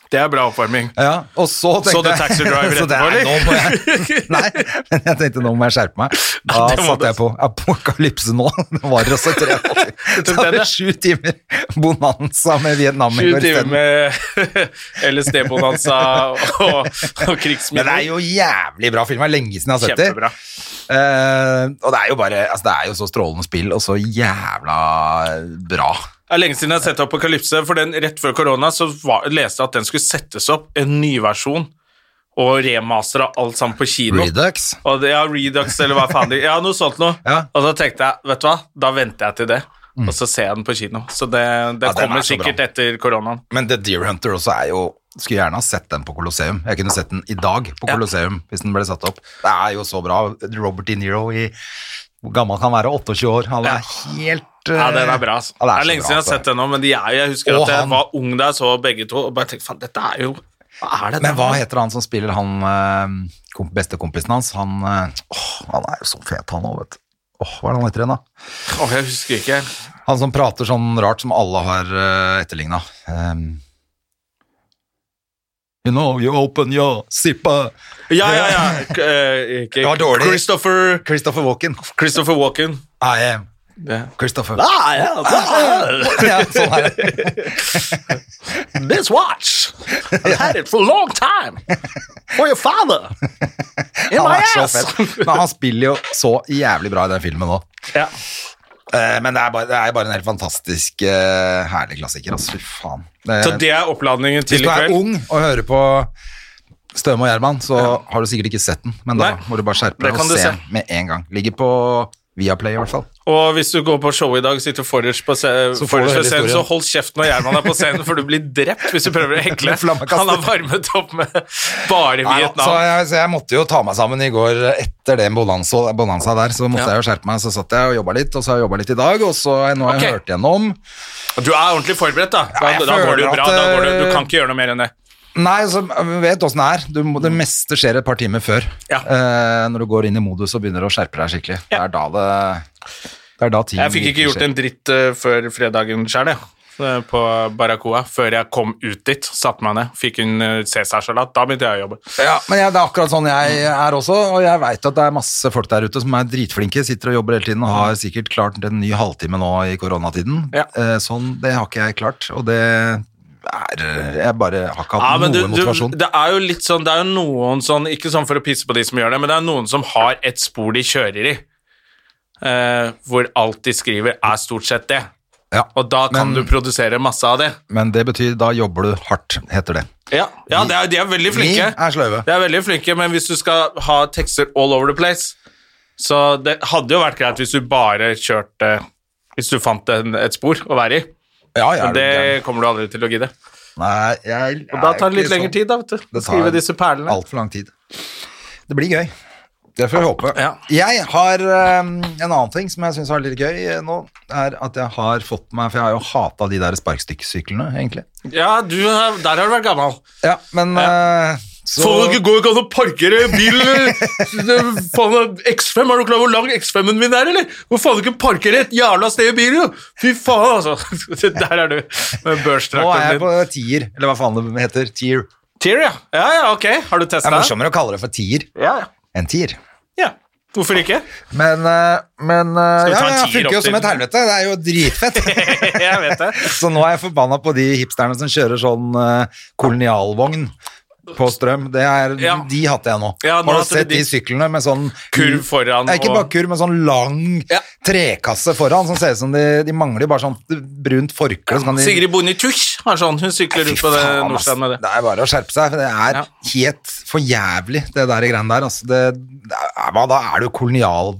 [SPEAKER 1] Det er bra oppvarming.
[SPEAKER 2] Ja, og så tenkte
[SPEAKER 1] Mm. Så du
[SPEAKER 2] jeg-
[SPEAKER 1] Taxi Driver
[SPEAKER 2] så det er-
[SPEAKER 1] etterpå, eller?
[SPEAKER 2] nå må jeg- Nei, men jeg tenkte nå må jeg skjerpe meg. Da
[SPEAKER 1] Nei, det må
[SPEAKER 2] satte
[SPEAKER 1] du.
[SPEAKER 2] jeg på apokalypse nå. Det var også tre måneder.
[SPEAKER 1] tok
[SPEAKER 2] Så hadde
[SPEAKER 1] den, ja.
[SPEAKER 2] jeg sju timer bonanza med Vietnam i
[SPEAKER 1] Sju
[SPEAKER 2] går
[SPEAKER 1] timer
[SPEAKER 2] isteden.
[SPEAKER 1] med LSD-bonanza og, og
[SPEAKER 2] Men det er
[SPEAKER 1] krigsmidler.
[SPEAKER 2] jo jævlig bra film. Det er lenge siden jeg har sett det.
[SPEAKER 1] Kjempebra.
[SPEAKER 2] Eh, og det er jo bare altså Det er jo så strålende spill, og så jævla bra.
[SPEAKER 1] Det er lenge siden jeg har sett Apokalypse, for den rett før korona så var, leste jeg at den skulle settes opp, en nyversjon, og remastere alt sammen på kino.
[SPEAKER 2] Redux.
[SPEAKER 1] Og det, ja, Redux eller hva faen det Ja, noe sånt noe.
[SPEAKER 2] Ja. Mm.
[SPEAKER 1] Og så tenkte jeg, vet du hva, da venter jeg til det. Og så ser jeg den på kino. Så det, det
[SPEAKER 2] Ja, den er
[SPEAKER 1] kommer
[SPEAKER 2] så bra.
[SPEAKER 1] sikkert etter koronaen.
[SPEAKER 2] Men The Deer Hunter også er jo Skulle gjerne ha sett den på Colosseum. Jeg kunne sett den i dag på Colosseum hvis den ble satt opp. Det er jo så bra. Robert De Niro i Hvor gammel kan han være? 28 år? Han er helt
[SPEAKER 1] Ja, den er bra, altså.
[SPEAKER 2] Ja,
[SPEAKER 1] det,
[SPEAKER 2] det
[SPEAKER 1] er
[SPEAKER 2] så
[SPEAKER 1] lenge
[SPEAKER 2] bra,
[SPEAKER 1] siden jeg har
[SPEAKER 2] altså.
[SPEAKER 1] sett den nå, men de er, jeg husker
[SPEAKER 2] Og
[SPEAKER 1] at jeg
[SPEAKER 2] han.
[SPEAKER 1] var ung da jeg så begge to, og bare tenkte faen, dette er jo Hva er det
[SPEAKER 2] Men hva
[SPEAKER 1] der?
[SPEAKER 2] heter han som spiller han eh, kom- bestekompisen hans? Han, eh, åh, han er jo så fet, han òg, vet du. Åh, hva er det han heter igjen, da?
[SPEAKER 1] Åh, jeg husker ikke.
[SPEAKER 2] Han som prater sånn rart som alle har uh, etterligna. you know, you open your zipper
[SPEAKER 1] Ja, ja, ja. K- eh, ikke-
[SPEAKER 2] Det var dårlig.
[SPEAKER 1] Christopher,
[SPEAKER 2] Christopher Walken.
[SPEAKER 1] Christopher Walken.
[SPEAKER 2] I am Christopher. Ja, sånn er det.
[SPEAKER 1] This watch I've had it for a long time. For your father. In
[SPEAKER 2] Han er så fett. Men han spiller jo så jævlig bra i den filmen nå.
[SPEAKER 1] Ja.
[SPEAKER 2] Eh, men det er, bare, det er bare en helt fantastisk eh, herlig klassiker, altså. Fy faen. Det-
[SPEAKER 1] Så det er oppladningen
[SPEAKER 2] hvis
[SPEAKER 1] til i
[SPEAKER 2] du er
[SPEAKER 1] kveld.
[SPEAKER 2] ung og hører på Støme og Gjerman, så har du sikkert ikke sett den. Men da
[SPEAKER 1] Nei.
[SPEAKER 2] må du bare skjerpe
[SPEAKER 1] Det
[SPEAKER 2] deg
[SPEAKER 1] kan
[SPEAKER 2] og
[SPEAKER 1] du
[SPEAKER 2] se,
[SPEAKER 1] se.
[SPEAKER 2] med en gang. Ligger på Viaplay, i hvert fall.
[SPEAKER 1] Og hvis du går på show i dag, sitter forrest på se-
[SPEAKER 2] Så får du
[SPEAKER 1] forrest
[SPEAKER 2] hele
[SPEAKER 1] ved scenen, så
[SPEAKER 2] historien.
[SPEAKER 1] hold kjeft når Gjerman er på scenen, for du blir drept hvis du prøver å hekle.
[SPEAKER 2] Med flammekaster.
[SPEAKER 1] Han har varmet opp med bare
[SPEAKER 2] Nei, altså, da, så,
[SPEAKER 1] Vietnam.
[SPEAKER 2] jeg, så jeg måtte jo ta meg sammen i går etter den bonanza, bonanza der, så måtte jeg jo skjerpe meg. Så satt jeg og jobba litt, og så har jeg jobba litt i dag, og så har jeg- nå har jeg
[SPEAKER 1] Ok.
[SPEAKER 2] hørt gjennom.
[SPEAKER 1] Du er ordentlig forberedt, da. Da,
[SPEAKER 2] jeg
[SPEAKER 1] da går det jo
[SPEAKER 2] føler
[SPEAKER 1] bra.
[SPEAKER 2] at,
[SPEAKER 1] Da går det, du
[SPEAKER 2] eh,
[SPEAKER 1] kan ikke gjøre noe mer enn det.
[SPEAKER 2] Nei, så vet åssen det er. Du, må- det meste skjer et par timer før.
[SPEAKER 1] Ja.
[SPEAKER 2] Eh, når du går inn i modus og begynner å skjerpe deg skikkelig. Det er da det det er da ting
[SPEAKER 1] Jeg fikk ikke gjort en dritt eh, før fredagen sjøl, jeg. eh, På Barracoa. Før jeg kom ut dit, satte meg ned, fikk en eh, cæsarsalat. Da begynte jeg å jobbe.
[SPEAKER 2] ja, Men jeg, det er akkurat sånn jeg er også, og jeg veit at det er masse folk der ute som er dritflinke, sitter og jobber hele tiden og har sikkert klart en ny halvtime nå i koronatiden.
[SPEAKER 1] Ja.
[SPEAKER 2] Eh, sånn, det har ikke jeg klart, og det er Jeg bare har ikke
[SPEAKER 1] Ja,
[SPEAKER 2] hatt
[SPEAKER 1] men du,
[SPEAKER 2] noe
[SPEAKER 1] du,
[SPEAKER 2] motivasjon.
[SPEAKER 1] det er jo litt sånn, det er jo noen sånn, ikke sånn for å pisse på de som gjør det, men det er noen som har et spor de kjører i, eh, hvor alt de skriver er stort sett det.
[SPEAKER 2] ja.
[SPEAKER 1] Og da kan
[SPEAKER 2] Men-
[SPEAKER 1] du produsere masse av det.
[SPEAKER 2] Men det betyr da jobber du hardt, heter det.
[SPEAKER 1] Ja, ja det er, de er veldig flinke.
[SPEAKER 2] Vi er sløve.
[SPEAKER 1] De er veldig flinke, men hvis du skal ha tekster all over the place, så det hadde jo vært greit hvis du bare kjørte, hvis du fant en, et spor å være i,
[SPEAKER 2] Ja, jeg er
[SPEAKER 1] men
[SPEAKER 2] jo
[SPEAKER 1] det
[SPEAKER 2] gæren.
[SPEAKER 1] kommer du aldri til å gidde.
[SPEAKER 2] Nei, jeg
[SPEAKER 1] Og da tar det litt
[SPEAKER 2] er ikke
[SPEAKER 1] lengre
[SPEAKER 2] sånn.
[SPEAKER 1] tid da, vet du, å
[SPEAKER 2] Det
[SPEAKER 1] skrive
[SPEAKER 2] tar
[SPEAKER 1] disse perlene.
[SPEAKER 2] Altfor lang tid. Det blir gøy. Det får vi håpe.
[SPEAKER 1] Ja.
[SPEAKER 2] Jeg har um, en annen ting som jeg syns var litt gøy eh, nå, er at jeg har fått meg For jeg har jo hata de der sparkestykksyklene, egentlig.
[SPEAKER 1] Ja, du, har- der har du vært gammel.
[SPEAKER 2] Ja, men eh, så
[SPEAKER 1] Faen, det går jo ikke an å parkere bilen! faen, X5, er du klar over hvor lang X5-en min er, eller? Hvor faen du ikke parkere et jævla sted i bilen, jo? Fy faen, altså. Der er du med
[SPEAKER 2] Nå er jeg
[SPEAKER 1] børstrakten
[SPEAKER 2] på
[SPEAKER 1] din.
[SPEAKER 2] tier, eller hva faen det heter. Tier.
[SPEAKER 1] Tier, ja. Ja, ja, ok. Har du
[SPEAKER 2] Det er
[SPEAKER 1] testa?
[SPEAKER 2] morsommere å kalle det for tier
[SPEAKER 1] Ja, ja.
[SPEAKER 2] enn tier.
[SPEAKER 1] ja. Hvorfor ikke?
[SPEAKER 2] Men, eh, men
[SPEAKER 1] Skal
[SPEAKER 2] eh,
[SPEAKER 1] vi
[SPEAKER 2] ja,
[SPEAKER 1] ta en
[SPEAKER 2] ja,
[SPEAKER 1] tier
[SPEAKER 2] funker
[SPEAKER 1] opp
[SPEAKER 2] jo som
[SPEAKER 1] til-
[SPEAKER 2] et helvete. Det er jo dritfett.
[SPEAKER 1] jeg vet det.
[SPEAKER 2] Så nå er jeg forbanna på de hipsterne som kjører sånn eh, kolonialvogn på strøm. Det er,
[SPEAKER 1] Ja.
[SPEAKER 2] De hater jeg nå.
[SPEAKER 1] Ja, nå
[SPEAKER 2] Har du
[SPEAKER 1] hater du
[SPEAKER 2] sett
[SPEAKER 1] de.
[SPEAKER 2] de syklene med sånn
[SPEAKER 1] Kurv foran
[SPEAKER 2] Nei, Ikke
[SPEAKER 1] og-
[SPEAKER 2] bare kurv, men sånn lang
[SPEAKER 1] Ja.
[SPEAKER 2] trekasse foran som ser ut som de, de mangler bare sånt brunt forkle. Så kan de,
[SPEAKER 1] Sigrid Bonde Tusj har sånn. Hun
[SPEAKER 2] Fy
[SPEAKER 1] sykler rundt på det
[SPEAKER 2] faen, ass.
[SPEAKER 1] Nordstrand med det.
[SPEAKER 2] Det er bare å skjerpe seg, for det er
[SPEAKER 1] Ja.
[SPEAKER 2] helt for jævlig, det der greiene der. Altså, det, det er, hva da er du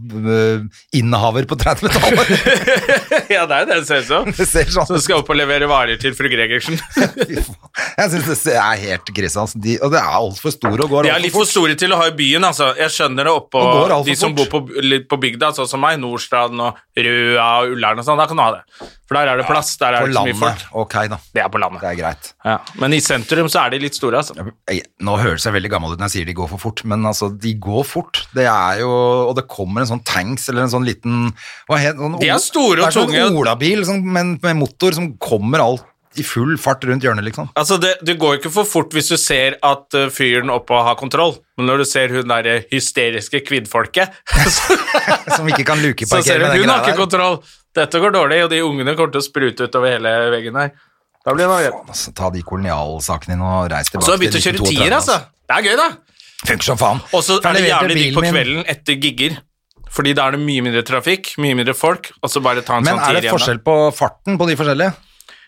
[SPEAKER 2] kolonialinnehaver på 30-tallet?
[SPEAKER 1] ja, det er det det ser ut
[SPEAKER 2] Det
[SPEAKER 1] som.
[SPEAKER 2] ser sånn
[SPEAKER 1] Så skal opp og levere varer til fru Gregersen.
[SPEAKER 2] Fy faen. Jeg syns det er helt krise, altså. De, og det er altfor store og går
[SPEAKER 1] De er
[SPEAKER 2] altfor
[SPEAKER 1] litt for store til å ha i byen, altså. Jeg skjønner det oppå
[SPEAKER 2] Og går alt for
[SPEAKER 1] de som bor
[SPEAKER 2] fort.
[SPEAKER 1] på, litt på bygda, sånn som meg, Nordstrand og Røa og Ullern og sånn, da kan du ha det. For der er det plass, der er
[SPEAKER 2] på
[SPEAKER 1] det ikke så mye
[SPEAKER 2] landet.
[SPEAKER 1] folk.
[SPEAKER 2] Ok, da.
[SPEAKER 1] Det er på landet.
[SPEAKER 2] Det er greit.
[SPEAKER 1] Ja. Men i sentrum så er de litt store, altså.
[SPEAKER 2] Jeg, nå høres jeg veldig gammel ut når jeg sier de går for fort, men altså, de går fort. Det er jo Og det kommer en sånn tanks eller en sånn liten hva het- sånn,
[SPEAKER 1] De er
[SPEAKER 2] Ola-
[SPEAKER 1] store og
[SPEAKER 2] det er sånn
[SPEAKER 1] tunge.
[SPEAKER 2] Olabil sånn, men med motor som kommer alt i full fart rundt hjørnet, liksom.
[SPEAKER 1] Altså, det, det går ikke for fort hvis du ser at eh, fyren oppå har kontroll, men når du ser hun derre hysteriske kvinnfolket, så,
[SPEAKER 2] Som ikke
[SPEAKER 1] så
[SPEAKER 2] kan
[SPEAKER 1] ser
[SPEAKER 2] lukeparkere
[SPEAKER 1] du
[SPEAKER 2] med
[SPEAKER 1] hun har
[SPEAKER 2] den greia
[SPEAKER 1] ikke
[SPEAKER 2] der.
[SPEAKER 1] kontroll. Dette går dårlig, og de ungene kommer til å sprute utover hele veggen her. Da blir det noe greit.
[SPEAKER 2] Faen, altså, ta de kolonialsakene dine og reis tilbake
[SPEAKER 1] Så jeg begynte å kjøre
[SPEAKER 2] 1932,
[SPEAKER 1] tier, altså. Det er gøy, da.
[SPEAKER 2] altså. Funker som faen.
[SPEAKER 1] Og så
[SPEAKER 2] For
[SPEAKER 1] er det
[SPEAKER 2] jeg leverte
[SPEAKER 1] jævlig digg på
[SPEAKER 2] bilen min.
[SPEAKER 1] kvelden etter gigger, fordi da er det mye mindre trafikk, mye mindre folk, og så bare ta en
[SPEAKER 2] Men
[SPEAKER 1] sånn tier
[SPEAKER 2] er det
[SPEAKER 1] igjen, da.
[SPEAKER 2] forskjell på farten på de forskjellige?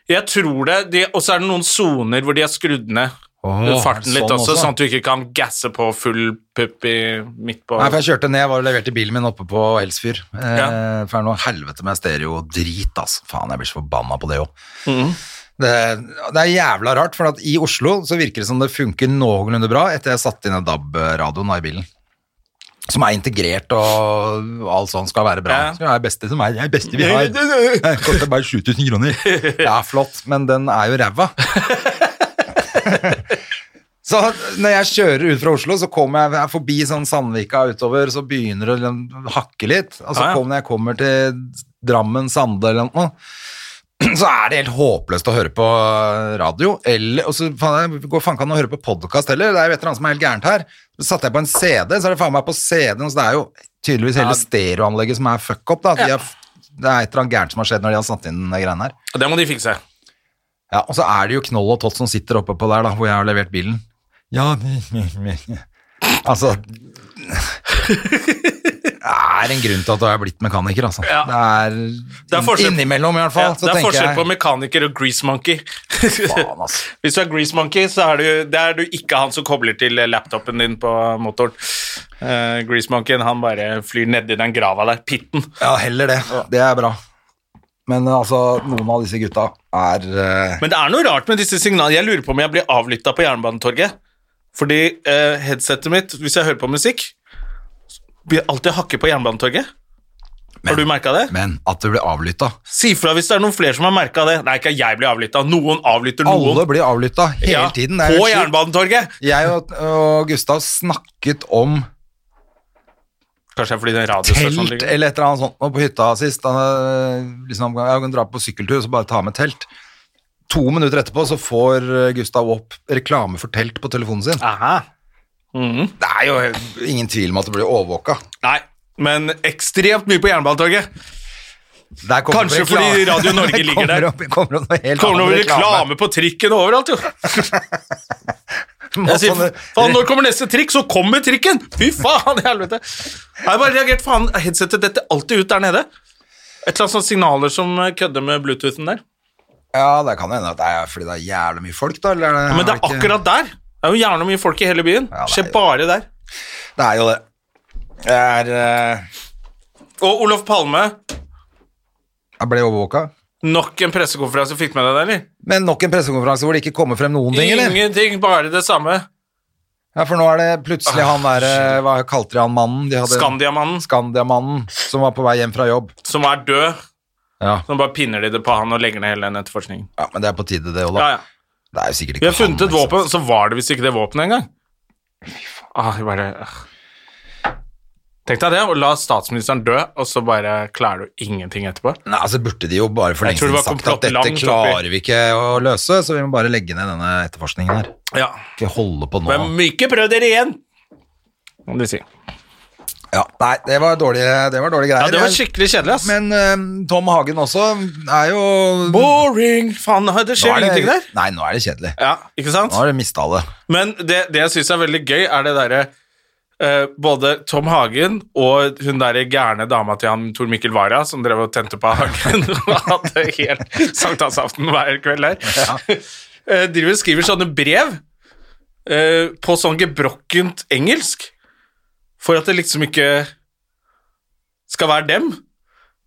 [SPEAKER 1] Jeg tror det, de, og så er det noen soner hvor de har skrudd ned
[SPEAKER 2] Åh,
[SPEAKER 1] farten litt
[SPEAKER 2] sånn
[SPEAKER 1] også,
[SPEAKER 2] også.
[SPEAKER 1] sånn at du ikke kan gasse på full pupp i, midt på
[SPEAKER 2] Nei, for jeg kjørte ned, jeg var og leverte bilen min oppe på Elsfyr. Eh,
[SPEAKER 1] Ja.
[SPEAKER 2] For det er noe helvete med stereo-drit, altså. Faen, jeg blir så forbanna på det òg.
[SPEAKER 1] Mhm.
[SPEAKER 2] Det, det er jævla rart, for at i Oslo så virker det som det funker noenlunde bra etter jeg satte inn en DAB-radioen i bilen. Som er integrert og alt sånt skal være bra.
[SPEAKER 1] Ja.
[SPEAKER 2] Skal være beste som er, jeg er beste vi har. Det Koster bare 7000 kroner. Ja, flott, men den er jo ræva. Så når jeg kjører ut fra Oslo, så kommer jeg, jeg er forbi sånn Sandvika utover, så begynner det å liksom hakke litt. Og så
[SPEAKER 1] Ja, ja.
[SPEAKER 2] kom, når jeg kommer til Drammen, Sande eller noe, så er det helt håpløst å høre på radio. Eller, og så faen, jeg går faen ikke an å høre på podkast heller. Det er jo et eller annet som er helt gærent her. Så satte jeg på en CD, så er det faen meg på CD-en, så det er jo tydeligvis hele stereoanlegget som er fuck up, da. De har, det er et eller annet gærent som har skjedd når de har satt inn de greiene her.
[SPEAKER 1] Det må de fikse.
[SPEAKER 2] Ja, og så er det jo Knoll og Tott som sitter oppe på der, da, hvor jeg har levert bilen. Ja, Altså Det er en grunn til at jeg er blitt mekaniker, altså.
[SPEAKER 1] Ja.
[SPEAKER 2] Det er,
[SPEAKER 1] Det er forskjell-
[SPEAKER 2] innimellom, i
[SPEAKER 1] Ja,
[SPEAKER 2] hvert fall. så
[SPEAKER 1] det er
[SPEAKER 2] tenker
[SPEAKER 1] forskjell
[SPEAKER 2] jeg
[SPEAKER 1] på mekaniker og grease monkey.
[SPEAKER 2] Faen, altså.
[SPEAKER 1] Hvis du er grease monkey, så er du, det er du ikke han som kobler til laptopen din på motoren. Eh, grease monkeyen, han bare flyr nedi den grava der, pitten.
[SPEAKER 2] Ja, heller det. Det er bra. Men altså, noen av disse gutta er eh,
[SPEAKER 1] Men det er noe rart med disse signalene. Jeg lurer på om jeg blir avlytta på Jernbanetorget. Fordi eh, headsetet mitt, hvis jeg hører på musikk, blir alltid hakke på Jernbanetorget.
[SPEAKER 2] Men-
[SPEAKER 1] Har du merka det?
[SPEAKER 2] Men at du blir avlytta.
[SPEAKER 1] Si fra hvis det er noen flere som har merka det. Nei, ikke jeg blir avlytta. Noen avlytter noen.
[SPEAKER 2] Alle blir avlytta hele
[SPEAKER 1] Ja,
[SPEAKER 2] tiden. Det er
[SPEAKER 1] på
[SPEAKER 2] helt sjukt.
[SPEAKER 1] Jernbanetorget!
[SPEAKER 2] Jeg og, og Gustav snakket om
[SPEAKER 1] Kanskje det er fordi den radiostasjonen
[SPEAKER 2] telt
[SPEAKER 1] ligger
[SPEAKER 2] eller et eller annet sånt nå på hytta sist. Han, eh, liksom, jeg kan dra på sykkeltur og så bare ta med telt. To minutter etterpå så får eh, Gustav opp reklame for telt på telefonen sin.
[SPEAKER 1] Aha. Mhm.
[SPEAKER 2] Det er jo ingen tvil om at det blir overvåka.
[SPEAKER 1] Nei, men ekstremt mye på Jernbanetorget.
[SPEAKER 2] Der kommer
[SPEAKER 1] Kanskje
[SPEAKER 2] det reklame-
[SPEAKER 1] fordi Radio Norge
[SPEAKER 2] Det
[SPEAKER 1] ligger
[SPEAKER 2] kommer
[SPEAKER 1] der.
[SPEAKER 2] Opp, kommer opp noe helt
[SPEAKER 1] Kommer det
[SPEAKER 2] annet
[SPEAKER 1] over reklame på trikken overalt, jo. Jeg sier,
[SPEAKER 2] Sånne-
[SPEAKER 1] faen, når kommer neste trikk? Så kommer trikken! Fy faen i helvete! Jeg har bare reagert, faen, headsetet detter alltid ut der nede. Et eller annet sånt signaler som eh, kødder med bluetoothen der.
[SPEAKER 2] Ja, det kan hende at det er fordi det er jævlig mye folk, da. Eller,
[SPEAKER 1] Men det er
[SPEAKER 2] ikke-
[SPEAKER 1] akkurat der! Det er jo gjerne mye folk i hele byen.
[SPEAKER 2] Ja, det er
[SPEAKER 1] Skjer
[SPEAKER 2] jo-
[SPEAKER 1] bare der.
[SPEAKER 2] Det er jo det. Jeg, er, eh,
[SPEAKER 1] Og Olof Palme,
[SPEAKER 2] jeg ble overvåka.
[SPEAKER 1] nok en pressekonferanse. Fikk med deg det, eller?
[SPEAKER 2] Men nok en pressekonferanse hvor det ikke kommer frem noen ting, eller?
[SPEAKER 1] Ingenting, bare det samme.
[SPEAKER 2] Ja, for nå er det plutselig
[SPEAKER 1] Ah,
[SPEAKER 2] han der eh, Hva kalte de han mannen? De hadde-
[SPEAKER 1] Skandiamannen,
[SPEAKER 2] Skandiamannen som var på vei hjem fra jobb.
[SPEAKER 1] som er død.
[SPEAKER 2] Ja,
[SPEAKER 1] Så bare pinner de det på han og legger ned hele den etterforskningen.
[SPEAKER 2] ja men det er på tide, det òg, da.
[SPEAKER 1] Ja, ja.
[SPEAKER 2] Det er jo sikkert
[SPEAKER 1] Vi
[SPEAKER 2] ikke
[SPEAKER 1] har funnet
[SPEAKER 2] han,
[SPEAKER 1] et
[SPEAKER 2] ikke sant?
[SPEAKER 1] våpen, så var det visst ikke det våpenet engang. Ah, jeg bare... ah. Tenk deg det, å la statsministeren dø, og så bare klarer du ingenting etterpå.
[SPEAKER 2] Nei, altså burde de jo bare for
[SPEAKER 1] Jeg
[SPEAKER 2] lenge
[SPEAKER 1] tror det
[SPEAKER 2] siden
[SPEAKER 1] var
[SPEAKER 2] sagt
[SPEAKER 1] komplott
[SPEAKER 2] at dette
[SPEAKER 1] langt
[SPEAKER 2] klarer vi ikke å løse, så vi må bare legge ned denne etterforskningen her.
[SPEAKER 1] Ja.
[SPEAKER 2] Ikke holde på nå.
[SPEAKER 1] Men ikke prøv dere igjen! Må de si. Ja,
[SPEAKER 2] Ja, nei, det var dårlige, det var dårlige greier.
[SPEAKER 1] det var skikkelig kjedelig, ass.
[SPEAKER 2] Men eh, Tom Hagen også er jo
[SPEAKER 1] Boring! Faen, det
[SPEAKER 2] Nå
[SPEAKER 1] skjer
[SPEAKER 2] er det-
[SPEAKER 1] ingenting der.
[SPEAKER 2] Nei, nå er det kjedelig.
[SPEAKER 1] Ja, ikke sant?
[SPEAKER 2] Nå har de mista det.
[SPEAKER 1] Men det, det jeg syns er veldig gøy, er det derre eh, Både Tom Hagen og hun derre gærne dama til han Tor Mikkel Wara som drev og tente på Hagen og hadde helt sankthansaften hver kveld der, eh, driver og skriver sånne brev eh, på sånn gebrokkent engelsk for at det liksom ikke skal være dem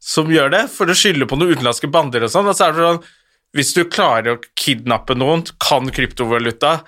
[SPEAKER 1] som gjør det, for å skylde på noen utenlandske bander og sånn. Og så er det sånn Hvis du klarer å kidnappe noen, kan kryptovaluta,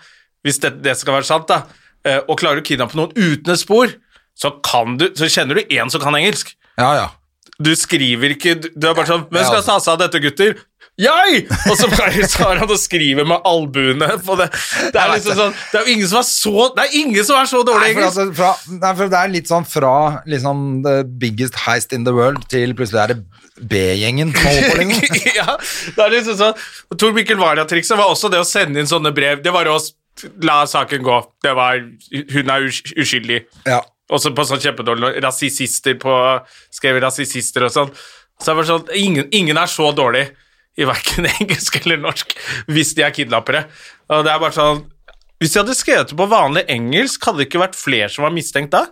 [SPEAKER 1] hvis det, det skal være sant, da, eh, og klarer å kidnappe noen uten et spor, så, kan du, så kjenner du én som kan engelsk.
[SPEAKER 2] Ja, ja. altså.
[SPEAKER 1] Du skriver ikke Du du er bare sånn 'Hvem skal ta seg av dette, gutter?' Jeg! Og så bare tar han og skriver med albuene på det. Det er liksom sånn Det er jo ingen som er så Det er ingen som er så dårlig
[SPEAKER 2] Nei, for,
[SPEAKER 1] engelsk.
[SPEAKER 2] altså, fra, nei, for det er litt sånn fra liksom the biggest heist in the world til plutselig er det B-gjengen. som holder på, liksom.
[SPEAKER 1] ja, det er liksom sånn Og Tor Mikkel Wara-trikset var også det å sende inn sånne brev. Det var å s- la saken gå. Det var Hun er us- uskyldig.
[SPEAKER 2] Ja.
[SPEAKER 1] Også på sånn kjempedårlig Rasisister på Skrev rasisister og sånn. Så det var sånn Ingen, ingen er så dårlig i verken engelsk eller norsk hvis de er kidnappere. Og det er bare sånn Hvis de hadde skrevet det på vanlig engelsk, hadde det ikke vært flere som var mistenkt da?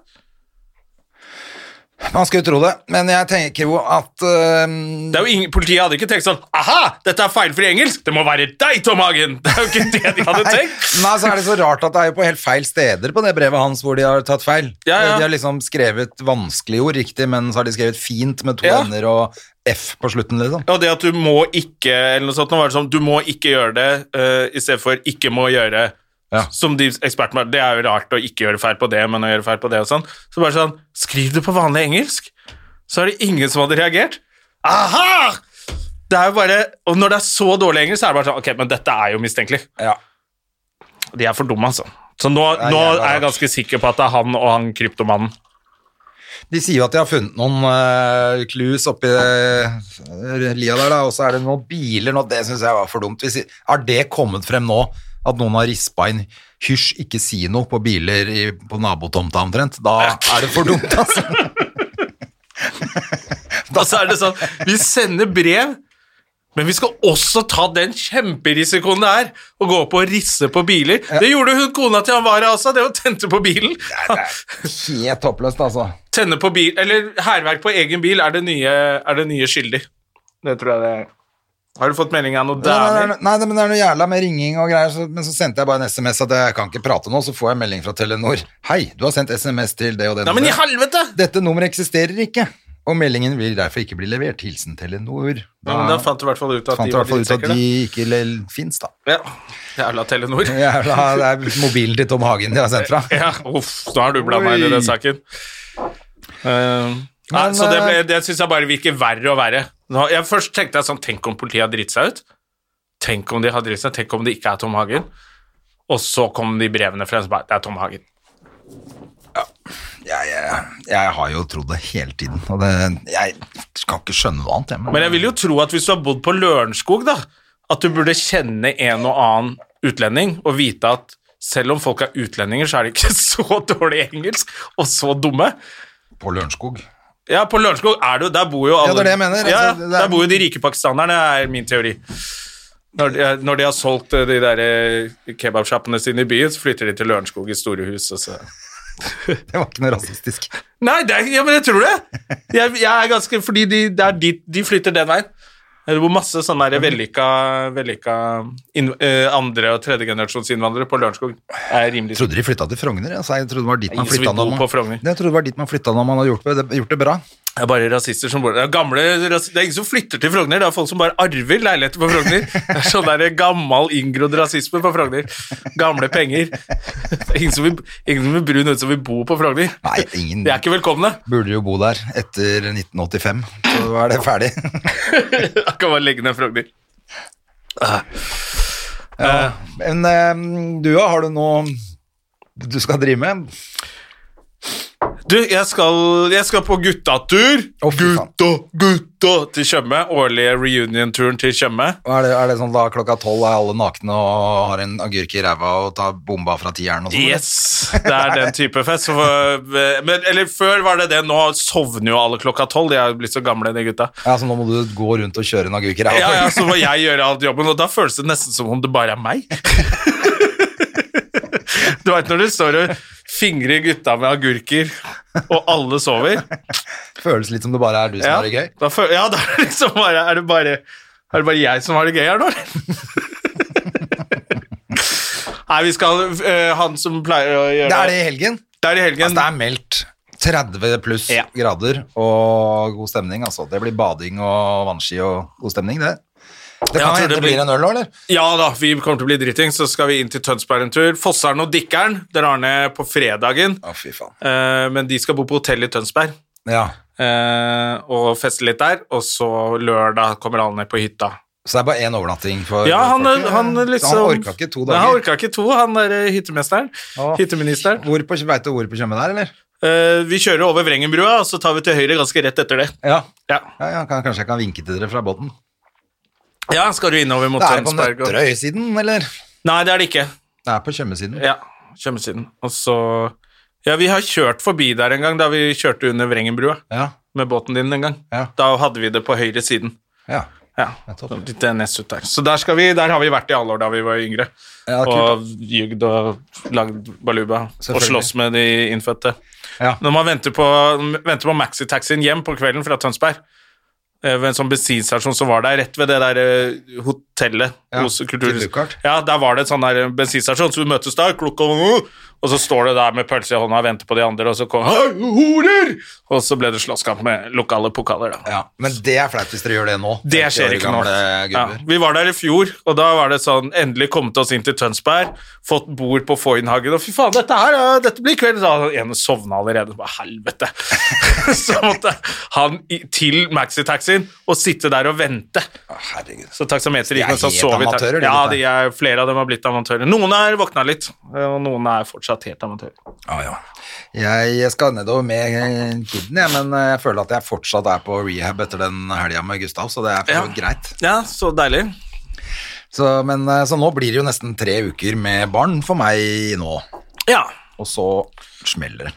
[SPEAKER 2] Man skulle tro det, men jeg tenker jo at ehm, øhm,
[SPEAKER 1] Det er jo ingen, Politiet hadde ikke tenkt sånn Aha, dette er feilfri engelsk! Det må være deg, Tom Hagen! Det er jo ikke det de hadde
[SPEAKER 2] Nei,
[SPEAKER 1] tenkt.
[SPEAKER 2] nei, så altså, er det så rart at det er jo på helt feil steder på det brevet hans hvor de har tatt feil.
[SPEAKER 1] Ja, ja.
[SPEAKER 2] De har liksom skrevet vanskelige ord riktig, men så har de skrevet fint med to
[SPEAKER 1] Ja.
[SPEAKER 2] ender og F på slutten, liksom.
[SPEAKER 1] Og det at du må ikke eller noe sånt, nå var det sånn, du må ikke gjøre det, uh, i stedet for ikke må gjøre,
[SPEAKER 2] Ja.
[SPEAKER 1] som de ekspertene var, det er jo rart å ikke gjøre feil på det, men å gjøre feil på det og sånn. Så bare sånn, skriv det på vanlig engelsk, så er det ingen som hadde reagert. Aha! Det er jo bare, og når det er så dårlig engelsk, så er det bare sånn, ok, men dette er jo mistenkelig.
[SPEAKER 2] Ja.
[SPEAKER 1] De er for dumme, altså. Så nå,
[SPEAKER 2] Det er
[SPEAKER 1] nå er
[SPEAKER 2] jævla
[SPEAKER 1] jeg
[SPEAKER 2] rart.
[SPEAKER 1] ganske sikker på at det er han og han kryptomannen.
[SPEAKER 2] De sier jo at de har funnet noen øh, clues oppi øh, lia der, da, og så er det noen biler nå. Det syns jeg var for dumt. Hvis, har det kommet frem nå? At noen har rispa inn 'hysj, ikke si noe' på biler i, på nabotomta omtrent? Da er det for dumt, altså.
[SPEAKER 1] Og så er det sånn, vi sender brev, men vi skal også ta den kjemperisikoen det er å gå opp og risse på biler. Det gjorde hun kona til Amara også, det å tente på bilen.
[SPEAKER 2] Helt håpløst, altså.
[SPEAKER 1] Tenne på bil, eller hærverk på egen bil er det nye, er det nye skyldig. Det tror jeg det er. Har du fått melding av noe
[SPEAKER 2] Nei, nei,
[SPEAKER 1] dæner?
[SPEAKER 2] nei, men det er noe jævla med ringing og greier, så, men så sendte jeg bare en SMS at jeg kan ikke prate nå, så får jeg melding fra Telenor. Hei, du har sendt SMS til det og det
[SPEAKER 1] Nei, men i
[SPEAKER 2] nummeret.
[SPEAKER 1] helvete!
[SPEAKER 2] Dette nummeret eksisterer ikke, og meldingen vil derfor ikke bli levert. Hilsen Telenor.
[SPEAKER 1] Ja, men da fant du i hvert fall ut at
[SPEAKER 2] fant
[SPEAKER 1] de
[SPEAKER 2] du i
[SPEAKER 1] var
[SPEAKER 2] hvert fall ut at
[SPEAKER 1] drittsekker,
[SPEAKER 2] de ikke le- fins, da.
[SPEAKER 1] da. Ja, jævla Telenor.
[SPEAKER 2] Jævla, det er mobilen til Tom Hagen de har sendt fra.
[SPEAKER 1] Ja, uff, nå er du blanda inn i
[SPEAKER 2] Oi.
[SPEAKER 1] den saken. Eh, nei,
[SPEAKER 2] Men,
[SPEAKER 1] så det, ble,
[SPEAKER 2] eh,
[SPEAKER 1] det syns jeg bare virker verre og verre. Nå, jeg først tenkte jeg sånn Tenk om politiet har dritt seg ut? Tenk om de har dritt seg Tenk om det ikke er Tom Hagen? Og så kom de brevene fra en som bare Det er Tom Hagen.
[SPEAKER 2] Jeg, jeg, jeg har jo trodd det hele tiden, og det, jeg skal ikke skjønne noe annet. Jeg, men,
[SPEAKER 1] Men jeg vil jo tro at hvis du har bodd på Lørenskog, da, at du burde kjenne en og annen utlending og vite at selv om folk er utlendinger, så er de ikke så dårlig engelsk og så dumme.
[SPEAKER 2] på Lørenskog.
[SPEAKER 1] Ja, på Lørenskog er det jo Der bor jo alle
[SPEAKER 2] Ja, det er det jeg mener.
[SPEAKER 1] Ja,
[SPEAKER 2] Altså, det er-
[SPEAKER 1] Der bor jo de rike pakistanerne, er min teori. Når de, når de har solgt eh, de der eh, kebabsjappene sine i byen, så flytter de til Lørenskog i store hus. Og så.
[SPEAKER 2] Det var ikke noe rasistisk.
[SPEAKER 1] Nei, det er, ja, men jeg tror det! Jeg, jeg er ganske, fordi de, det er dit, de flytter den veien. Det bor masse sånne
[SPEAKER 2] Mhm.
[SPEAKER 1] der vellykka, vellykka inn, eh, andre- og tredjegenerasjonsinnvandrere på Lørenskog. Det er
[SPEAKER 2] Jeg
[SPEAKER 1] rimelig
[SPEAKER 2] trodde de flytta til Frogner. Altså, jeg trodde det var dit man
[SPEAKER 1] Ingen som
[SPEAKER 2] flytta
[SPEAKER 1] vil bo
[SPEAKER 2] når man,
[SPEAKER 1] på Frogner.
[SPEAKER 2] Jeg trodde det var dit man flytta når man har gjort det, gjort det bra.
[SPEAKER 1] Det er bare rasister som bor der. Det er Gamle, ras- det er ingen som flytter til Frogner, det er folk som bare arver leiligheter på Frogner. Det er sånn der gammel, inngrodd rasisme på Frogner. Gamle penger. Det er Ingen som vil, ingen som vil brun ut som vil bo på Frogner.
[SPEAKER 2] Nei, ingen
[SPEAKER 1] De er ikke velkomne.
[SPEAKER 2] burde jo bo der etter 1985. Så da er det ferdig.
[SPEAKER 1] Da kan man legge ned Frogner.
[SPEAKER 2] Men eh, du, ja, har du noe du skal drive med?
[SPEAKER 1] Du, jeg skal, jeg skal på guttatur.
[SPEAKER 2] Å, fy faen.
[SPEAKER 1] Gutta, gutta til Tjøme. Årlige reunion-turen til Tjøme.
[SPEAKER 2] Er det, er det sånn da klokka tolv er alle nakne og har en agurk i ræva og tar bomba fra tieren og sånn? eller?
[SPEAKER 1] Yes, det er den type fest. Så, eh, men, eller før var det det, nå sovner jo alle klokka tolv. De er jo blitt så gamle, de gutta.
[SPEAKER 2] Ja, så nå må du gå rundt og kjøre en agurk i ræva?
[SPEAKER 1] Ja, ja, så må jeg gjøre alt jobben, og da føles det nesten som om det bare er meg. Du veit når du står og fingrer gutta med agurker, og alle sover?
[SPEAKER 2] Føles litt som det bare er du som
[SPEAKER 1] Ja,
[SPEAKER 2] har det gøy.
[SPEAKER 1] da, føl- ja, da er det liksom bare Er det bare, er det bare jeg som har det gøy her nå, eller? Nei, vi skal eh, Han som pleier å gjøre
[SPEAKER 2] Det er det i helgen.
[SPEAKER 1] Det er i helgen.
[SPEAKER 2] Altså, det er meldt 30 pluss
[SPEAKER 1] Mm. Ja.
[SPEAKER 2] grader og god stemning, altså. Det blir bading og vannski og god stemning, det.
[SPEAKER 1] Ja,
[SPEAKER 2] Det kan
[SPEAKER 1] jeg tror
[SPEAKER 2] hende
[SPEAKER 1] det
[SPEAKER 2] det blir
[SPEAKER 1] blir-
[SPEAKER 2] en øl òg, eller?
[SPEAKER 1] Ja da, vi kommer til å bli driting, så skal vi inn til Tønsberg en tur. Fosseren og Dikkeren drar ned på fredagen,
[SPEAKER 2] Å, fy faen.
[SPEAKER 1] eh, men de skal bo på hotell i Tønsberg.
[SPEAKER 2] Ja.
[SPEAKER 1] eh, og feste litt der, og så lørdag kommer alle ned på hytta
[SPEAKER 2] Så det er bare én overnatting for
[SPEAKER 1] Ja, han,
[SPEAKER 2] folk.
[SPEAKER 1] han liksom
[SPEAKER 2] Han orka ikke to
[SPEAKER 1] Nei, han
[SPEAKER 2] dager.
[SPEAKER 1] orka ikke to, han der eh, hyttemesteren.
[SPEAKER 2] Å.
[SPEAKER 1] Hytteministeren.
[SPEAKER 2] Hvor på, vet du hvor på Tjøme det er, eller?
[SPEAKER 1] Eh, vi kjører over Vrengenbrua, og så tar vi til høyre ganske rett etter det.
[SPEAKER 2] Ja.
[SPEAKER 1] Ja,
[SPEAKER 2] ja, ja kan, kanskje jeg kan vinke til dere fra båten.
[SPEAKER 1] ja skal du innover mot
[SPEAKER 2] Det er på
[SPEAKER 1] Tønsberg? Og...
[SPEAKER 2] Nøtterøy-siden, eller?
[SPEAKER 1] Nei, det er det ikke.
[SPEAKER 2] Det er på Tjøme-siden.
[SPEAKER 1] Ja, Tjømesiden. Og så Ja, vi har kjørt forbi der en gang, da vi kjørte under Vrengenbrua
[SPEAKER 2] Ja.
[SPEAKER 1] med båten din en gang.
[SPEAKER 2] Ja.
[SPEAKER 1] Da hadde vi det på høyre siden.
[SPEAKER 2] ja.
[SPEAKER 1] Ja,
[SPEAKER 2] Nettopp.
[SPEAKER 1] litt eh, nest ut der. Så der, skal vi, der har vi vært i alle år da vi var yngre.
[SPEAKER 2] Ja, kult.
[SPEAKER 1] og ljugd og lagd baluba og
[SPEAKER 2] Selvfølgelig.
[SPEAKER 1] slåss med de innfødte.
[SPEAKER 2] Ja.
[SPEAKER 1] Når man venter på, venter på maxitaxien hjem på kvelden fra Tønsberg eh, ved en sånn bensinstasjon som var der, rett ved det der eh, hotellet
[SPEAKER 2] Ja,
[SPEAKER 1] hos
[SPEAKER 2] til Lukart.
[SPEAKER 1] Kulturhuset. Ja, der var det et sånn der eh, bensinstasjon, så vi møtes der, klokka Og så står det der med pølse i hånda og venter på de andre, og så kom Hei, horer! Og så ble det slåsskamp med lokale pokaler, da.
[SPEAKER 2] Ja, Men det er flaut hvis dere gjør det nå.
[SPEAKER 1] Det skjer
[SPEAKER 2] 50 år
[SPEAKER 1] ikke nå.
[SPEAKER 2] gamle
[SPEAKER 1] Ja,
[SPEAKER 2] gubber.
[SPEAKER 1] vi var der i fjor, og da var det sånn Endelig kommet oss inn til Tønsberg, fått bord på Foynhagen, og fy faen, dette her, ja, dette blir kveld. Så hadde en sovna allerede. Bare helvete. så måtte han i, til maxitaxien og sitte der og vente.
[SPEAKER 2] Å, Herregud.
[SPEAKER 1] Så taksameteret
[SPEAKER 2] De er
[SPEAKER 1] gikk, men så
[SPEAKER 2] helt
[SPEAKER 1] sov vi
[SPEAKER 2] amatører, de
[SPEAKER 1] Ja,
[SPEAKER 2] gutta.
[SPEAKER 1] de er, flere av dem har blitt amatører. Noen er våkna litt, og noen er fortsatt helt amatører.
[SPEAKER 2] Ja, ja. Jeg skal nedover med kiden, jeg, men eh, jeg føler at jeg fortsatt er på rehab etter den helga med Gustav, så det er for
[SPEAKER 1] Ja.
[SPEAKER 2] så vidt greit.
[SPEAKER 1] Ja, så deilig.
[SPEAKER 2] Så, men, eh, så nå blir det jo nesten tre uker med barn for meg nå,
[SPEAKER 1] Ja.
[SPEAKER 2] og så smeller det.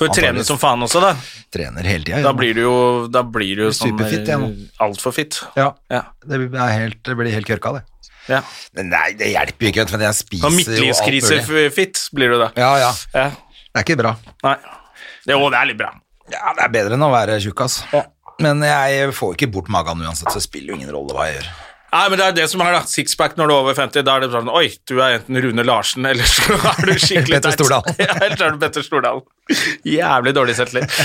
[SPEAKER 1] Får trene
[SPEAKER 2] Antageligvis.
[SPEAKER 1] som faen også, da.
[SPEAKER 2] Trener hele tida.
[SPEAKER 1] Da blir du jo, da blir du jo sånn
[SPEAKER 2] Superfit, ja, nå.
[SPEAKER 1] altfor fit.
[SPEAKER 2] Ja,
[SPEAKER 1] Ja.
[SPEAKER 2] det blir helt, det blir helt kørka, det.
[SPEAKER 1] ja.
[SPEAKER 2] Men Nei, det hjelper jo ikke, for jeg
[SPEAKER 1] Og
[SPEAKER 2] spiser jo alt mulig.
[SPEAKER 1] midtlivskrise-fit Sånn blir du da.
[SPEAKER 2] Ja, ja.
[SPEAKER 1] Ja.
[SPEAKER 2] Det er ikke bra.
[SPEAKER 1] Nei. Det, jo, det er litt bra.
[SPEAKER 2] Ja, det er bedre enn å være tjukk, ass. Men jeg får ikke bort magen uansett, så det spiller jo ingen rolle hva jeg gjør.
[SPEAKER 1] Nei, men det er det som er da, sixpack når du er over 50. Da er det sånn Oi, du er enten Rune Larsen, eller så er du skikkelig
[SPEAKER 2] Petter
[SPEAKER 1] teit.
[SPEAKER 2] Stordalen.
[SPEAKER 1] ja, eller så er du Petter Stordalen. Jævlig dårlig selvtillit.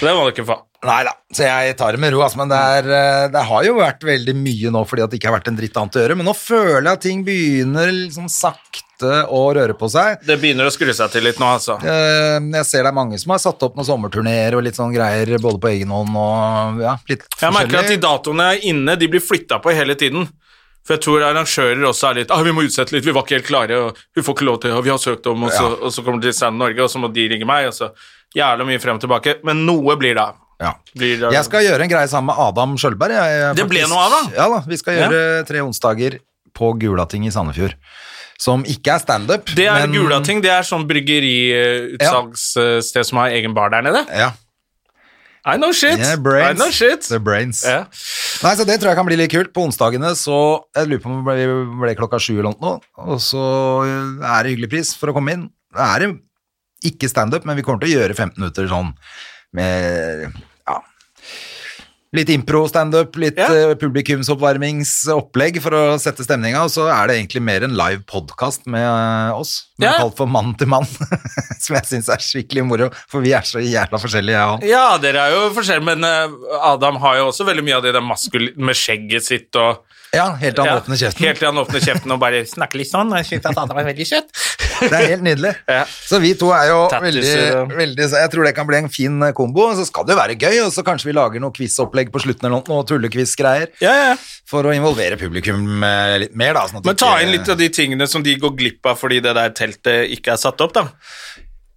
[SPEAKER 1] så det må du ikke få.
[SPEAKER 2] Nei da, så jeg tar det med ro, altså, men det, er, eh, det har jo vært veldig mye nå fordi at det ikke har vært en dritt annet å gjøre, men nå føler jeg at ting begynner liksom sakte å røre på seg.
[SPEAKER 1] Det begynner å skru seg til litt nå, altså.
[SPEAKER 2] Eh, Jeg ser det er mange som har satt opp noen sommerturnéer og litt sånn greier både på egen hånd og ja, litt
[SPEAKER 1] Jeg merker at de
[SPEAKER 2] forskjellig.
[SPEAKER 1] datoene jeg er inne, de blir flytta på hele tiden. For jeg tror arrangører også er litt ah, 'Vi må utsette litt, vi var ikke helt klare.' og 'Vi får ikke lov til, og vi har søkt om', og så,
[SPEAKER 2] Ja.
[SPEAKER 1] og så kommer de til Stand Norge, og så må de ringe meg, og så jævla mye frem og tilbake. Men noe blir det av.
[SPEAKER 2] Ja.
[SPEAKER 1] Blir det av.
[SPEAKER 2] Jeg skal gjøre en greie sammen med Adam Skjølberg. Jeg, jeg,
[SPEAKER 1] Det ble
[SPEAKER 2] faktisk.
[SPEAKER 1] noe av, da.
[SPEAKER 2] Ja da, vi skal gjøre tre onsdager på Gulating i Sandefjord, som ikke er stand-up.
[SPEAKER 1] Det er
[SPEAKER 2] men-
[SPEAKER 1] Gulating. Det er sånn bryggeriutsalgssted som har egen bar der nede.
[SPEAKER 2] Ja.
[SPEAKER 1] I know shit.
[SPEAKER 2] Yeah,
[SPEAKER 1] I
[SPEAKER 2] brains.
[SPEAKER 1] know shit.
[SPEAKER 2] The brains.
[SPEAKER 1] Ja.
[SPEAKER 2] Nei, så Det tror jeg kan bli litt kult. På onsdagene så jeg lurer på om det ble, ble klokka sju eller noe, og så eh, er det hyggelig pris for å komme inn. Det er jo ikke standup, men vi kommer til å gjøre 15 minutter sånn med ja, litt impro-standup, litt
[SPEAKER 1] Ja.
[SPEAKER 2] eh, publikumsoppvarmingsopplegg for å sette stemninga, og så er det egentlig mer en live podkast med eh, oss. Som
[SPEAKER 1] Ja.
[SPEAKER 2] er kalt for Mann til mann, som jeg syns er skikkelig moro, for vi er så jævla forskjellige, jeg og han.
[SPEAKER 1] Ja, dere er jo forskjellige, men eh, Adam har jo også veldig mye av det der maskul med skjegget sitt og
[SPEAKER 2] Ja, helt til han
[SPEAKER 1] Ja,
[SPEAKER 2] åpner kjeften.
[SPEAKER 1] Helt til han åpner kjeften og bare snakker litt sånn. Jeg synes at Adam er veldig søt.
[SPEAKER 2] Det er helt nydelig.
[SPEAKER 1] Ja.
[SPEAKER 2] Så vi to er jo
[SPEAKER 1] Tattiser,
[SPEAKER 2] veldig,
[SPEAKER 1] ja.
[SPEAKER 2] veldig så Jeg tror det kan bli en fin eh, kombo. og Så skal det jo være gøy, og så kanskje vi lager noe quizopplegg på slutten eller noe, noe tullequiz-greier.
[SPEAKER 1] Ja, ja.
[SPEAKER 2] For å involvere publikum eh, litt mer, da. Sånn at
[SPEAKER 1] Men
[SPEAKER 2] det
[SPEAKER 1] ta
[SPEAKER 2] ikke-
[SPEAKER 1] inn litt eh, av de tingene som de går glipp av fordi det der teltet ikke er satt opp, da.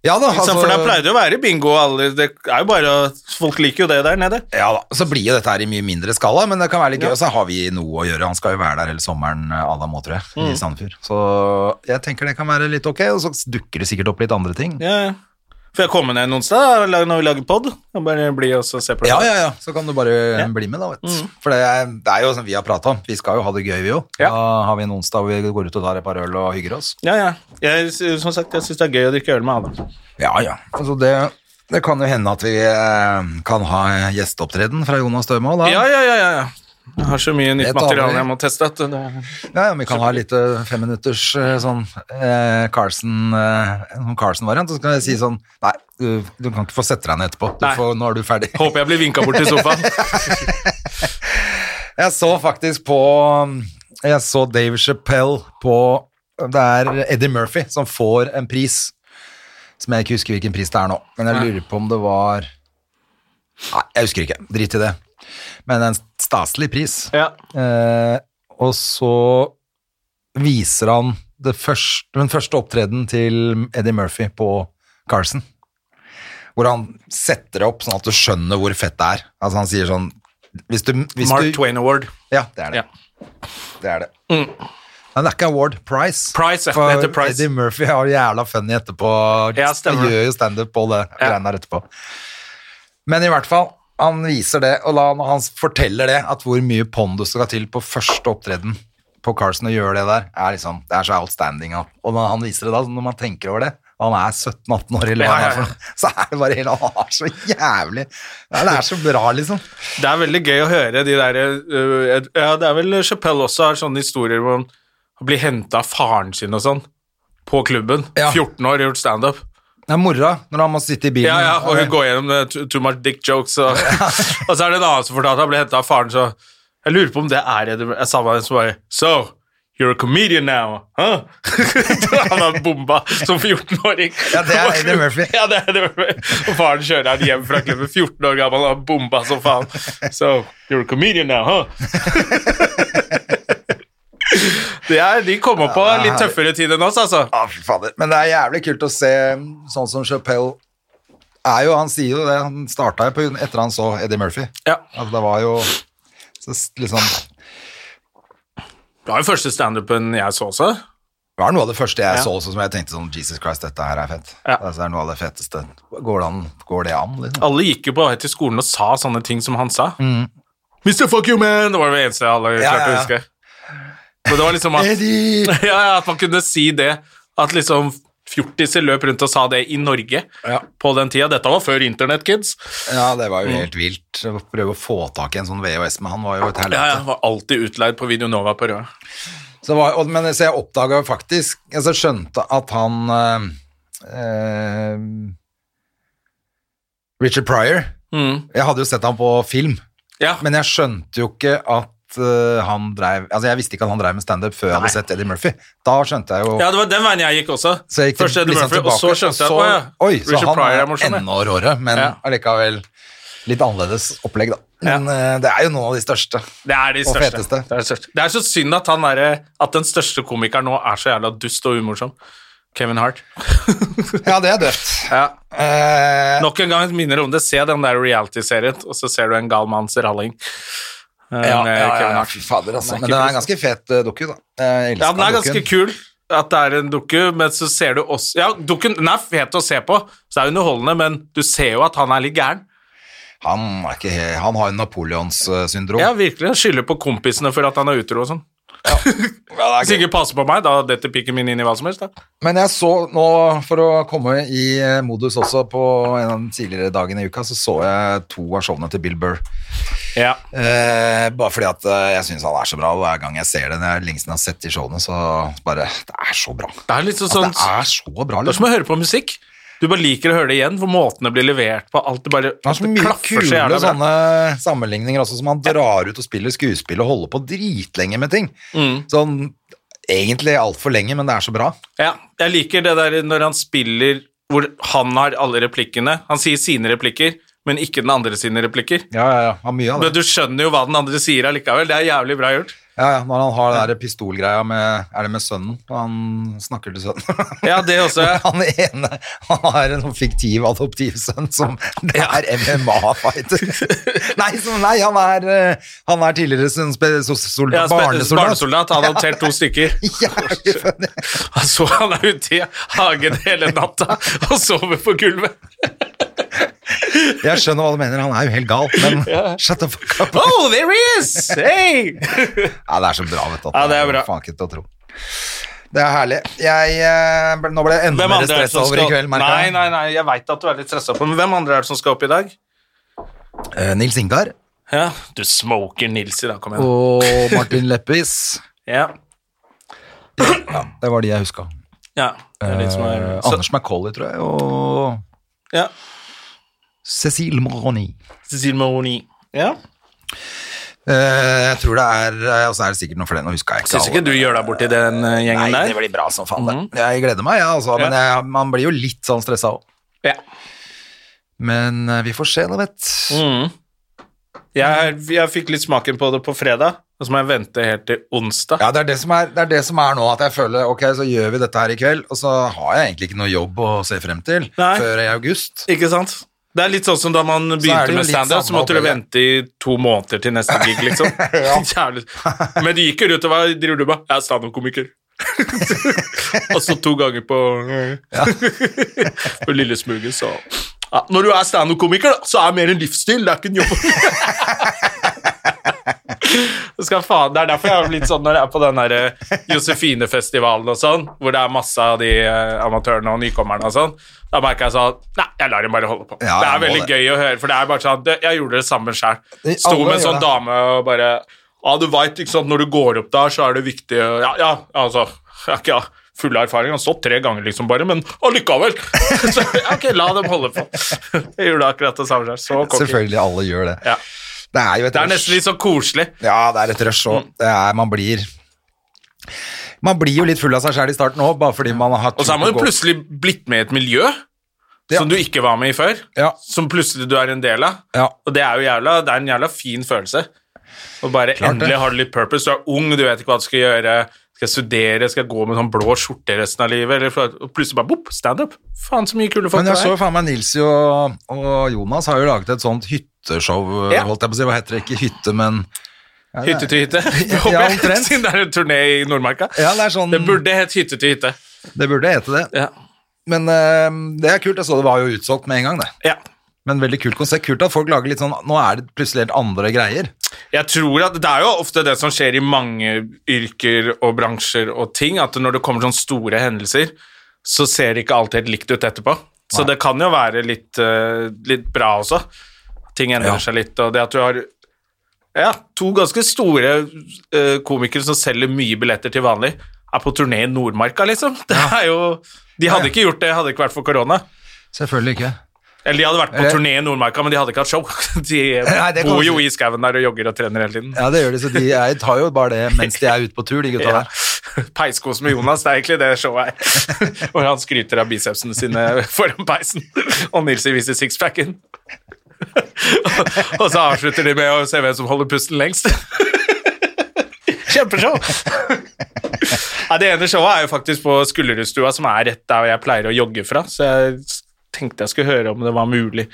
[SPEAKER 2] Ja da,
[SPEAKER 1] Ikke sant?
[SPEAKER 2] altså,
[SPEAKER 1] For der pleier det å være bingo og alle Det er jo bare Folk liker jo det der nede.
[SPEAKER 2] ja da. Så blir jo dette her i mye mindre skala, men det kan være litt gøy. Og så har vi noe å gjøre. Han skal jo være der hele sommeren, eh, Adam Aatrø, i
[SPEAKER 1] Mm.
[SPEAKER 2] Sandefjord. Så jeg tenker det kan være litt ok, og så dukker det sikkert opp litt andre ting.
[SPEAKER 1] Ja, ja. Får jeg komme ned noen sted da, og lage- når vi lager pod? Og bare bli og så se på det.
[SPEAKER 2] Ja, ja, ja. Så kan du bare bli med, da. Vet. du. For det er, det er jo som vi har prata om. Vi skal jo ha det gøy, vi òg.
[SPEAKER 1] Mm. Ja.
[SPEAKER 2] Da har vi en onsdag hvor vi går ut og tar et par øl og hygger oss.
[SPEAKER 1] ja, ja. Jeg, sy- som sagt, jeg syns det er gøy å drikke øl med Adam.
[SPEAKER 2] Ja, ja. Altså, det, det kan jo hende at vi eh, kan ha gjesteopptreden fra Jonas Døhme òg, da.
[SPEAKER 1] Ja, ja, ja, ja. ja. Jeg har så mye nytt
[SPEAKER 2] Det tar vi.
[SPEAKER 1] materiale jeg må teste. At det,
[SPEAKER 2] Ja, ja, vi kan ha litt eh, femminutters eh, sånn eh, Carlsen, eh, en sånn Carlsen-variant. Så kan jeg si sånn Nei, du, du kan ikke få sette deg ned etterpå. Du
[SPEAKER 1] Nei.
[SPEAKER 2] får, nå er du ferdig.
[SPEAKER 1] håper jeg blir vinka bort til sofaen.
[SPEAKER 2] Jeg så faktisk på Jeg så Dave Chappelle på Det er Eddie Murphy som får en pris. Som jeg ikke husker hvilken pris det er nå. Men jeg lurer på om det var Nei, jeg husker ikke. Drit i det. Men en staselig pris.
[SPEAKER 1] Ja.
[SPEAKER 2] Eh, og så viser han det første, den første opptreden til Eddie Murphy på Carson. Hvor han setter det opp sånn at du skjønner hvor fett det er. Altså han sier sånn hvis du, hvis
[SPEAKER 1] Mark
[SPEAKER 2] du,
[SPEAKER 1] Twain Award.
[SPEAKER 2] Ja, det er det.
[SPEAKER 1] Ja. Mm.
[SPEAKER 2] det, er det. Men det er ikke award, prize.
[SPEAKER 1] Prize, ja.
[SPEAKER 2] For
[SPEAKER 1] Det heter prize.
[SPEAKER 2] Eddie Murphy har jævla funny etterpå.
[SPEAKER 1] Ja, stemmer
[SPEAKER 2] Han
[SPEAKER 1] det.
[SPEAKER 2] gjør jo standup på det
[SPEAKER 1] Ja.
[SPEAKER 2] greiene der etterpå. Men i hvert fall, han viser det, og la, når han forteller det, at hvor mye pondus skal til på første opptreden på Carson å gjøre det der, er liksom, det er så outstanding. ja. Og når han viser det da, så når man tenker over det, og han er 17-18 år, eller hva
[SPEAKER 1] Ja, ja,
[SPEAKER 2] han er for noe, så er det bare helt, han er så jævlig, ja, det er så bra liksom.
[SPEAKER 1] Det er veldig gøy å høre de der øh, et- Ja, det er vel Chapelle også har sånne historier hvor han blir henta av faren sin og sånn på klubben.
[SPEAKER 2] Ja.
[SPEAKER 1] 14 år, gjort standup.
[SPEAKER 2] Det er mora, når han må sitte i bilen.
[SPEAKER 1] Ja, ja, og hun går gjennom eh, too- too much dick jokes. Og, og så er det en annen som fortalte at han ble henta av faren, så jeg lurer på om det er Eddie Mur- Jeg sa med en som bare So, you're a comedian now, huh? han har bomba som 14-åring.
[SPEAKER 2] Ja, det er Eddie Murphy.
[SPEAKER 1] ja, det er Eddie Murphy. Og faren kjører han hjem fra klubben, 14 år gammel, og har bomba som faen. So, you're a comedian now, huh? Det er, de kommer på
[SPEAKER 2] Ja, det er
[SPEAKER 1] litt tøffere tid enn oss, altså.
[SPEAKER 2] Ja, fy fader. Men det er jævlig kult å se sånn som Chappelle er jo, Han sier jo det, han starta jo på, etter han så Eddie Murphy.
[SPEAKER 1] Ja.
[SPEAKER 2] Altså, det var jo så s- liksom Det
[SPEAKER 1] Det var jo første standupen jeg så også.
[SPEAKER 2] var noe av det første jeg
[SPEAKER 1] Ja.
[SPEAKER 2] så også, som jeg tenkte sånn Jesus Christ, dette her er fett.
[SPEAKER 1] Ja.
[SPEAKER 2] Altså, det er noe av det fetteste. Går det an? Går det an liksom?
[SPEAKER 1] Alle gikk jo på vei til skolen og sa sånne ting som han sa. Mr. Fuck you, man! Det var det eneste alle
[SPEAKER 2] Ja,
[SPEAKER 1] klarte
[SPEAKER 2] ja,
[SPEAKER 1] å
[SPEAKER 2] ja.
[SPEAKER 1] huske. Men det var liksom at,
[SPEAKER 2] Eddie!
[SPEAKER 1] ja, ja, at man kunne si det. At liksom fjortiser løp rundt og sa det i Norge
[SPEAKER 2] Ja.
[SPEAKER 1] på den tida. Dette var før internett, kids.
[SPEAKER 2] Ja, det var jo
[SPEAKER 1] Mm.
[SPEAKER 2] helt vilt. Å prøve å få tak i en sånn VHS med han var jo et helvete.
[SPEAKER 1] Ja, ja, Var alltid utleid på Videonova på Røa.
[SPEAKER 2] Så, det var, og, men, så jeg oppdaga faktisk altså Jeg skjønte at han eh, eh, Richard Pryor
[SPEAKER 1] Mm.
[SPEAKER 2] Jeg hadde jo sett ham på film,
[SPEAKER 1] Ja.
[SPEAKER 2] men jeg skjønte jo ikke at eh, han dreiv Altså, jeg visste ikke at han dreiv med standup før jeg hadde sett Eddie Murphy. Da skjønte jeg jo
[SPEAKER 1] ja, det var den veien jeg gikk også.
[SPEAKER 2] så jeg gikk
[SPEAKER 1] Først Eddie
[SPEAKER 2] liksom
[SPEAKER 1] Murphy, og
[SPEAKER 2] tilbake,
[SPEAKER 1] så skjønte jeg
[SPEAKER 2] så-
[SPEAKER 1] at å, ja,
[SPEAKER 2] Oi, så
[SPEAKER 1] Richard
[SPEAKER 2] han
[SPEAKER 1] Pryor er
[SPEAKER 2] er
[SPEAKER 1] morsom. ja.
[SPEAKER 2] enda råere, men
[SPEAKER 1] Ja.
[SPEAKER 2] allikevel litt annerledes opplegg, da.
[SPEAKER 1] Ja.
[SPEAKER 2] Men eh, det er jo noen av de største.
[SPEAKER 1] Det er de
[SPEAKER 2] Og
[SPEAKER 1] største.
[SPEAKER 2] feteste.
[SPEAKER 1] Det er, de største. Det er så synd at, han er, at den største komikeren nå er så jævla dust og umorsom. Kevin Hart.
[SPEAKER 2] Ja, det er dødt.
[SPEAKER 1] Ja.
[SPEAKER 2] Eh,
[SPEAKER 1] Nok en gang et minner om det. Se den der reality-serien, og så ser du en gal manns ralling. Eh,
[SPEAKER 2] Ja,
[SPEAKER 1] med
[SPEAKER 2] ja, ja,
[SPEAKER 1] Kevin
[SPEAKER 2] ja,
[SPEAKER 1] Hart.
[SPEAKER 2] fy fader, altså.
[SPEAKER 1] Den er ikke
[SPEAKER 2] Men den er
[SPEAKER 1] pris-
[SPEAKER 2] ganske fet eh, doku, da. Jeg elsker
[SPEAKER 1] Ja, den er ganske
[SPEAKER 2] dokken.
[SPEAKER 1] kul at det er en dukke, men så ser du også Ja, dukken den er fet å se på, så det er underholdende, men du ser jo at han er litt gæren.
[SPEAKER 2] Han, er ikke, he- han har jo Napoleonssyndrom.
[SPEAKER 1] Ja, virkelig. Han Skylder på kompisene for at han er utro og sånn.
[SPEAKER 2] Ja,
[SPEAKER 1] Hvis ikke passer på meg, da detter pikken min inn i hva som helst, da.
[SPEAKER 2] Men jeg så nå, for å komme i eh, modus også, på en av den tidligere dagen i uka, så så jeg to av showene til Bill Burr.
[SPEAKER 1] Ja.
[SPEAKER 2] Eh, bare fordi at eh, jeg syns han er så bra, og hver gang jeg ser det, når jeg lenge siden jeg har sett de showene, så bare Det er så bra.
[SPEAKER 1] Det er litt sånn,
[SPEAKER 2] At
[SPEAKER 1] sånn
[SPEAKER 2] det er så bra,
[SPEAKER 1] Det er som
[SPEAKER 2] liksom.
[SPEAKER 1] å høre på musikk. Du bare liker å høre det igjen, for måten det blir levert på, alt det bare
[SPEAKER 2] Det er så
[SPEAKER 1] det
[SPEAKER 2] mye
[SPEAKER 1] klaffer så
[SPEAKER 2] kule sånn.
[SPEAKER 1] jævla bra.
[SPEAKER 2] sånne sammenligninger også, som han drar ut og spiller skuespill og holder på dritlenge med ting.
[SPEAKER 1] Mm.
[SPEAKER 2] Sånn egentlig altfor lenge, men det er så bra.
[SPEAKER 1] Ja, jeg liker det der når han spiller hvor han har alle replikkene. Han sier sine replikker, men ikke den andre sine replikker.
[SPEAKER 2] Ja, ja, ja. Har mye av
[SPEAKER 1] Men
[SPEAKER 2] det.
[SPEAKER 1] du skjønner jo hva den andre sier allikevel. Det er jævlig bra gjort.
[SPEAKER 2] Ja, ja, når han har den der pistolgreia med Er det med sønnen? Og han snakker til sønnen.
[SPEAKER 1] Ja, det også. ja.
[SPEAKER 2] Han ene han har en fiktiv adoptivsønn som det er MMA-fighter. Nei, som, nei han, er, eh, han er tidligere sånn spe- so- sol-
[SPEAKER 1] Ja, spe-
[SPEAKER 2] barnesoldat.
[SPEAKER 1] barnesoldat. Han har adoptert to stykker.
[SPEAKER 2] Jævlig funny.
[SPEAKER 1] Han så han er ute i hagen hele natta og sover på gulvet.
[SPEAKER 2] Jeg skjønner hva du mener, han er jo helt gal, men shut the fuck up.
[SPEAKER 1] Oh, there he is! Hey!
[SPEAKER 2] Ja, det er så bra, vet du. at
[SPEAKER 1] Ja, det er bra.
[SPEAKER 2] Faen ikke til å tro. Det er herlig. Jeg, eh, ble- nå ble jeg enda
[SPEAKER 1] Hvem
[SPEAKER 2] mer
[SPEAKER 1] andre er det
[SPEAKER 2] stressa
[SPEAKER 1] som
[SPEAKER 2] over i
[SPEAKER 1] skal
[SPEAKER 2] kveld, merker
[SPEAKER 1] Nei,
[SPEAKER 2] jeg.
[SPEAKER 1] nei, nei, jeg veit at du er litt stressa på men hvem andre er det som skal opp i dag?
[SPEAKER 2] Eh, Nils Ingar
[SPEAKER 1] Ja, du smoker Nils i dag, kom igjen.
[SPEAKER 2] og Martin Leppis.
[SPEAKER 1] Ja.
[SPEAKER 2] Det var de jeg huska.
[SPEAKER 1] ja. Det er litt som er,
[SPEAKER 2] Eh,
[SPEAKER 1] så,
[SPEAKER 2] Anders McCauley, tror jeg, og
[SPEAKER 1] ja.
[SPEAKER 2] Cecil Moroni.
[SPEAKER 1] Cecilie Mahoney. Ja.
[SPEAKER 2] Eh, jeg tror det er eh, Og så er det sikkert noen flere, nå husker jeg ikke.
[SPEAKER 1] Syns ikke du gjør deg borti den eh,
[SPEAKER 2] Nei,
[SPEAKER 1] gjengen
[SPEAKER 2] det
[SPEAKER 1] der? Mhm.
[SPEAKER 2] blir bra som faen, det. Jeg gleder meg, ja, altså, men jeg, man blir jo litt sånn stressa òg.
[SPEAKER 1] Ja.
[SPEAKER 2] Men eh, vi får se, da, vet
[SPEAKER 1] Mm. Jeg, jeg fikk litt smaken på det på fredag, og så må jeg vente helt til onsdag.
[SPEAKER 2] Ja, det er det, som er, det er det som er nå, at jeg føler ok, så gjør vi dette her i kveld, og så har jeg egentlig ikke noe jobb å se frem til
[SPEAKER 1] Nei.
[SPEAKER 2] før i august.
[SPEAKER 1] Ikke sant? Det er litt sånn som da man
[SPEAKER 2] er det
[SPEAKER 1] begynte
[SPEAKER 2] jo
[SPEAKER 1] med
[SPEAKER 2] litt
[SPEAKER 1] standup, så
[SPEAKER 2] samme
[SPEAKER 1] måtte du
[SPEAKER 2] opplegget.
[SPEAKER 1] vente i to måneder til neste gig, liksom. Jævlig. Men du gikk jo rundt og var driver du med? Jeg er standup-komiker. og så to ganger på På Lille Smugen, så ja, Når du er standup-komiker, da, så er det mer en livsstil, det er ikke en jobb. Det Skal faen, det er derfor jeg har blitt sånn når jeg er på den der eh, Josefine-festivalen og sånn, hvor det er masse av de eh, amatørene og nykommerne og sånn. Da merker jeg sånn Nei, jeg lar dem bare holde på.
[SPEAKER 2] Ja,
[SPEAKER 1] det
[SPEAKER 2] jeg
[SPEAKER 1] er
[SPEAKER 2] må
[SPEAKER 1] veldig
[SPEAKER 2] det.
[SPEAKER 1] gøy å høre, for det er bare sånn det- Jeg gjorde det samme sjøl.
[SPEAKER 2] Alle
[SPEAKER 1] Sto med en
[SPEAKER 2] gjør
[SPEAKER 1] sånn
[SPEAKER 2] det.
[SPEAKER 1] dame og bare Ja, du veit, ikke sant, når du går opp der, så er det viktig å Ja, ja, altså Jeg har ikke full erfaring, jeg har stått tre ganger liksom bare, men allikevel! Så ja, ok, la dem holde på. Jeg gjorde akkurat det samme sjøl. Så cocky.
[SPEAKER 2] Selvfølgelig, alle gjør det.
[SPEAKER 1] Ja.
[SPEAKER 2] Det er jo et
[SPEAKER 1] Det er nesten litt så Mm. koselig.
[SPEAKER 2] Ja, det er et rush òg. Man blir Man blir jo litt full av seg sjæl i starten òg, bare fordi man har
[SPEAKER 1] Og så er man jo plutselig blitt med i et miljø
[SPEAKER 2] Ja.
[SPEAKER 1] som du ikke var med i før,
[SPEAKER 2] Ja.
[SPEAKER 1] som plutselig du er en del av.
[SPEAKER 2] Ja.
[SPEAKER 1] Og det er jo jævla, det er en jævla fin følelse. Og bare
[SPEAKER 2] Klart det.
[SPEAKER 1] endelig har du litt purpose. Du er ung, du vet ikke hva du skal gjøre. Skal jeg studere, skal jeg gå med sånn blå skjorte resten av livet? Eller, for- og plutselig bare bopp, standup. Faen, så mye kule folk
[SPEAKER 2] Men jeg
[SPEAKER 1] det
[SPEAKER 2] så
[SPEAKER 1] er.
[SPEAKER 2] faen meg Nilsi og, og Jonas har jo laget et sånt hytteshow,
[SPEAKER 1] Ja.
[SPEAKER 2] holdt jeg på å si. Hva heter det? Ikke hytte, men
[SPEAKER 1] Hytte til hytte.
[SPEAKER 2] Ja,
[SPEAKER 1] håper jeg,
[SPEAKER 2] omtrent.
[SPEAKER 1] Siden det er en turné i Nordmarka.
[SPEAKER 2] Ja, det er sånn
[SPEAKER 1] Det burde hett Hytte til hytte.
[SPEAKER 2] Det burde hete det.
[SPEAKER 1] Ja.
[SPEAKER 2] Men eh, det er kult. Jeg så det var jo utsolgt med en gang, det.
[SPEAKER 1] ja.
[SPEAKER 2] Men veldig kult konsept. Kult at folk lager litt sånn Nå er det plutselig helt andre greier.
[SPEAKER 1] Jeg tror at Det er jo ofte det som skjer i mange yrker og bransjer og ting, at når det kommer sånne store hendelser, så ser det ikke alltid helt likt ut etterpå. Så det kan jo være litt, eh, litt bra også. Ting endrer
[SPEAKER 2] Ja.
[SPEAKER 1] seg litt, og det at du har ja, to ganske store eh, komikere som selger mye billetter til vanlig, er på turné i Nordmarka, liksom. Det er jo, de hadde ikke gjort det, hadde det ikke vært for korona.
[SPEAKER 2] Selvfølgelig ikke.
[SPEAKER 1] Eller de hadde vært på
[SPEAKER 2] Eller-
[SPEAKER 1] turné i Nordmarka, men de hadde ikke hatt show. De
[SPEAKER 2] Eh. Nei, det kan
[SPEAKER 1] bor
[SPEAKER 2] du
[SPEAKER 1] jo
[SPEAKER 2] si.
[SPEAKER 1] i skauen der og jogger og trener hele tiden.
[SPEAKER 2] Ja, det gjør de, så de er, tar jo bare det mens de er ute på tur, de gutta
[SPEAKER 1] Ja.
[SPEAKER 2] der.
[SPEAKER 1] Peiskos med Jonas, det er egentlig det showet er. Hvor han skryter av bicepsene sine foran peisen, og Nilsi viser sixpacken. og så avslutter de med å se hvem som holder pusten lengst. Kjempeshow! ja, det ene showet er jo faktisk på Skullerudstua, som er rett der jeg pleier å jogge fra, så jeg s- tenkte jeg skulle høre om det var mulig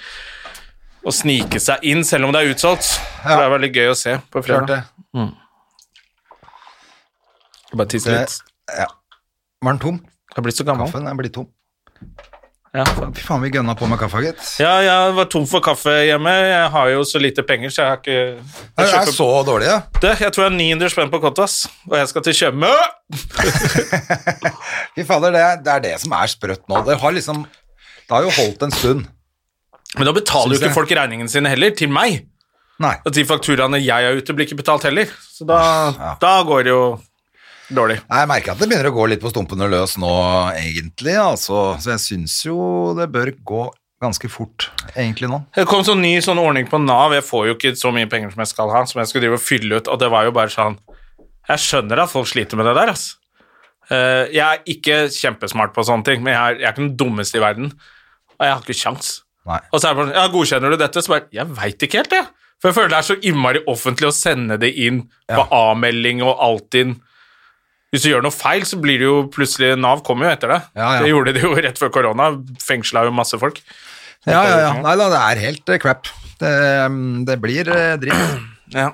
[SPEAKER 1] å snike seg inn, selv om det er utsolgt. Så det er veldig gøy å se på
[SPEAKER 2] Klart
[SPEAKER 1] fredag.
[SPEAKER 2] det.
[SPEAKER 1] Bare tisse
[SPEAKER 2] Det-
[SPEAKER 1] litt.
[SPEAKER 2] Var den tom?
[SPEAKER 1] Jeg har blitt så gammel.
[SPEAKER 2] Kaffen er blitt tom.
[SPEAKER 1] Ja, faen.
[SPEAKER 2] Fy faen, vi gønna på med kaffe, gitt.
[SPEAKER 1] Ja, jeg var tom for kaffe hjemme. Jeg har jo så lite penger, så jeg har ikke
[SPEAKER 2] Det
[SPEAKER 1] jeg,
[SPEAKER 2] er
[SPEAKER 1] kjøper...
[SPEAKER 2] så dårlig, ja.
[SPEAKER 1] Det, jeg tror jeg har 900 spenn på konto, ass. Og jeg skal til Tjøme!
[SPEAKER 2] Fy fader, det, er- det er det som er sprøtt nå. Det har liksom Det har jo holdt en stund.
[SPEAKER 1] Men da betaler jo
[SPEAKER 2] Synes jeg.
[SPEAKER 1] ikke folk regningene sine heller, til meg.
[SPEAKER 2] Nei.
[SPEAKER 1] Og de fakturaene jeg er ute, blir ikke betalt heller. Så da,
[SPEAKER 2] Ja.
[SPEAKER 1] da går det jo dårlig.
[SPEAKER 2] Nei, Jeg merker at det begynner å gå litt på stumpene løs nå, egentlig. Altså. Så jeg syns jo det bør gå ganske fort, egentlig, nå.
[SPEAKER 1] Det kom sånn ny sånn ordning på Nav. Jeg får jo ikke så mye penger som jeg skal ha, som jeg skulle drive og fylle ut, og det var jo bare sånn Jeg skjønner at folk sliter med det der, ass. Eh, jeg er ikke kjempesmart på sånne ting, men jeg er, jeg er ikke den dummeste i verden. Og jeg har ikke kjangs.
[SPEAKER 2] Nei.
[SPEAKER 1] Og så er det bare sånn, ja, godkjenner du dette? Så bare, jeg veit ikke helt, jeg. For jeg føler det er så innmari offentlig å sende det inn på A-melding og Altinn. Hvis du gjør noe feil, så blir det jo plutselig Nav kommer jo etter det.
[SPEAKER 2] Ja, ja.
[SPEAKER 1] Det gjorde de jo rett før korona. Fengsla jo masse folk.
[SPEAKER 2] Ja, ja, ja. Nei da, det er helt eh, crap. Det, det blir eh, dritt.
[SPEAKER 1] Ja.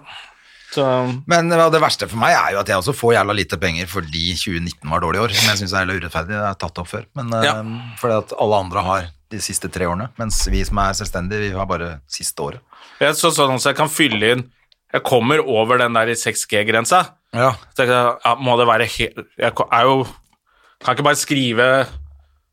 [SPEAKER 1] Så
[SPEAKER 2] Men eh, det verste for meg er jo at jeg også får jævla lite penger fordi 2019 var dårlig år, som jeg syns er jævla urettferdig. Det er tatt opp før. Men eh,
[SPEAKER 1] Ja.
[SPEAKER 2] fordi at alle andre har de siste tre årene, mens vi som er selvstendige, vi har bare siste året.
[SPEAKER 1] jeg så sånn at jeg kan fylle inn Jeg kommer over den der 6G-grensa.
[SPEAKER 2] Ja.
[SPEAKER 1] Så tenkte jeg, ja, må det være helt Jeg ko- er jo Kan ikke bare skrive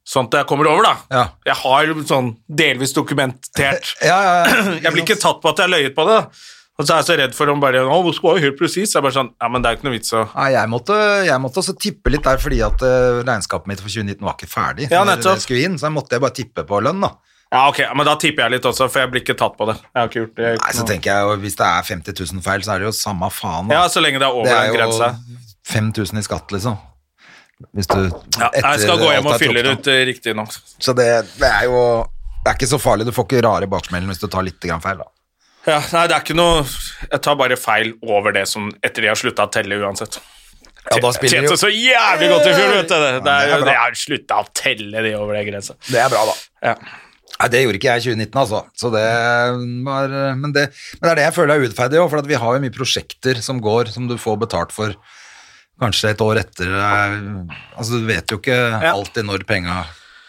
[SPEAKER 1] sånn at jeg kommer over, da.
[SPEAKER 2] Ja.
[SPEAKER 1] Jeg har sånn delvis dokumentert
[SPEAKER 2] Ja, ja,
[SPEAKER 1] Jeg blir ikke tatt på at jeg har løyet på det. da. Og så er jeg så redd for om bare Å, hun var jo helt presis. Jeg er bare sånn Ja, men det er jo ikke noe vits å
[SPEAKER 2] Nei, jeg måtte, jeg måtte også tippe litt der, fordi at eh, regnskapet mitt for 2019 var ikke ferdig.
[SPEAKER 1] Ja,
[SPEAKER 2] når
[SPEAKER 1] nettopp.
[SPEAKER 2] det skulle inn, så måtte jeg bare tippe på lønn, da.
[SPEAKER 1] Ja, ok, men da tipper jeg litt også, for jeg blir ikke tatt på det. Jeg har ikke gjort det.
[SPEAKER 2] Nei, så tenker jeg jo, hvis det er 50 000 feil, så er det jo samme faen. Da.
[SPEAKER 1] Ja, så lenge det er over
[SPEAKER 2] det er
[SPEAKER 1] den
[SPEAKER 2] jo
[SPEAKER 1] grensa.
[SPEAKER 2] 5000 i skatt, liksom. Hvis du
[SPEAKER 1] Ja, jeg skal gå hjem og fylle det ut eh, riktig nå.
[SPEAKER 2] Så det, det er jo Det er ikke så farlig. Du får ikke rare baksmellen hvis du tar litt grann feil, da.
[SPEAKER 1] Ja, nei, det er ikke noe Jeg tar bare feil over det som etter de har slutta å telle uansett.
[SPEAKER 2] Ja, da spiller de
[SPEAKER 1] Tjente
[SPEAKER 2] jo.
[SPEAKER 1] så jævlig godt i fjor, vet du. Det, det
[SPEAKER 2] Ja, det
[SPEAKER 1] er,
[SPEAKER 2] er
[SPEAKER 1] jo-
[SPEAKER 2] bra.
[SPEAKER 1] det er slutta å telle de over det grensa.
[SPEAKER 2] Det er bra, da.
[SPEAKER 1] Ja.
[SPEAKER 2] Nei, det gjorde ikke jeg i 2019, altså. Så det var, men, det, men det er det jeg føler er urettferdig òg, for at vi har jo mye prosjekter som går, som du får betalt for kanskje et år etter. eh, Altså, du vet jo ikke alltid når penga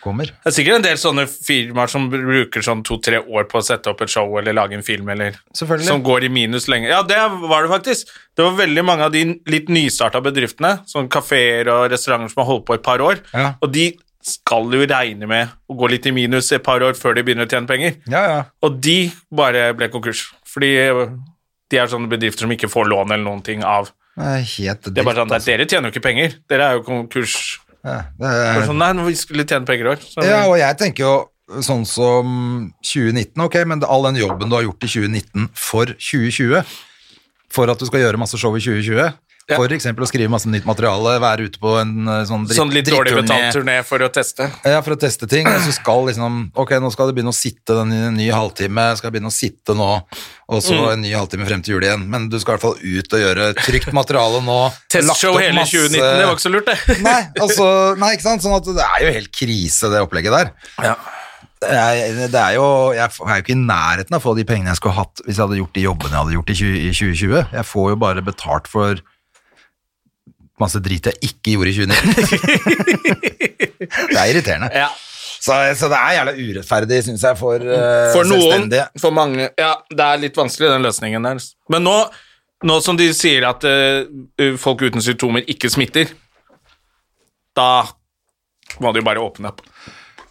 [SPEAKER 2] kommer.
[SPEAKER 1] Det er sikkert en del sånne firmaer som bruker sånn to-tre år på å sette opp et show eller lage en film, eller
[SPEAKER 2] Selvfølgelig.
[SPEAKER 1] som går i minus lenge. Ja, det var det faktisk. Det var veldig mange av de litt nystarta bedriftene, sånn kafeer og restauranter som har holdt på et par år,
[SPEAKER 2] Ja.
[SPEAKER 1] og de skal jo regne med å gå litt i minus et par år før de begynner å tjene penger.
[SPEAKER 2] Ja, ja.
[SPEAKER 1] Og de bare ble konkurs, fordi de er sånne bedrifter som ikke får lån eller noen ting av.
[SPEAKER 2] Det er helt
[SPEAKER 1] Det er bare
[SPEAKER 2] dritt, altså.
[SPEAKER 1] sånn, "Nei, dere tjener jo ikke penger, dere er jo konkurs.
[SPEAKER 2] Ja,
[SPEAKER 1] Bare
[SPEAKER 2] det er,
[SPEAKER 1] Sånn, nei, vi skulle tjene penger i år. Så-
[SPEAKER 2] ja, og jeg tenker jo sånn som 2019, ok, men all den jobben du har gjort i 2019 for 2020, for at du skal gjøre masse show i 2020,
[SPEAKER 1] Ja.
[SPEAKER 2] for eksempel å skrive masse nytt materiale, være ute på en eh, sånn, dritt,
[SPEAKER 1] Sånn litt dårlig
[SPEAKER 2] dritturné.
[SPEAKER 1] betalt turné for å teste.
[SPEAKER 2] Ja, for å teste ting. Og så skal liksom Ok, nå skal det begynne å sitte den i en ny halvtime. Skal begynne å sitte nå, og så
[SPEAKER 1] Mm.
[SPEAKER 2] en ny halvtime frem til jul igjen. Men du skal i hvert fall ut og gjøre trygt materiale nå.
[SPEAKER 1] Testshow
[SPEAKER 2] Lagt opp
[SPEAKER 1] hele
[SPEAKER 2] masse-
[SPEAKER 1] 2019, det var ikke så lurt, det.
[SPEAKER 2] Nei, altså, nei, ikke sant? Sånn at det er jo helt krise, det opplegget der. Jeg, det er jo, jeg er jo ikke i nærheten av å få de pengene jeg skulle hatt hvis jeg hadde gjort de jobbene jeg hadde gjort i 20 i 2020. Jeg får jo bare betalt for masse drit jeg ikke gjorde i 2019. det er irriterende.
[SPEAKER 1] Ja.
[SPEAKER 2] Så, så det er jævla urettferdig, syns jeg, for, eh,
[SPEAKER 1] For noen,
[SPEAKER 2] selvstendige.
[SPEAKER 1] for mange Ja, det er litt vanskelig, den løsningen der. Men nå, nå som de sier at eh, folk uten symptomer ikke smitter, da må de jo bare åpne opp.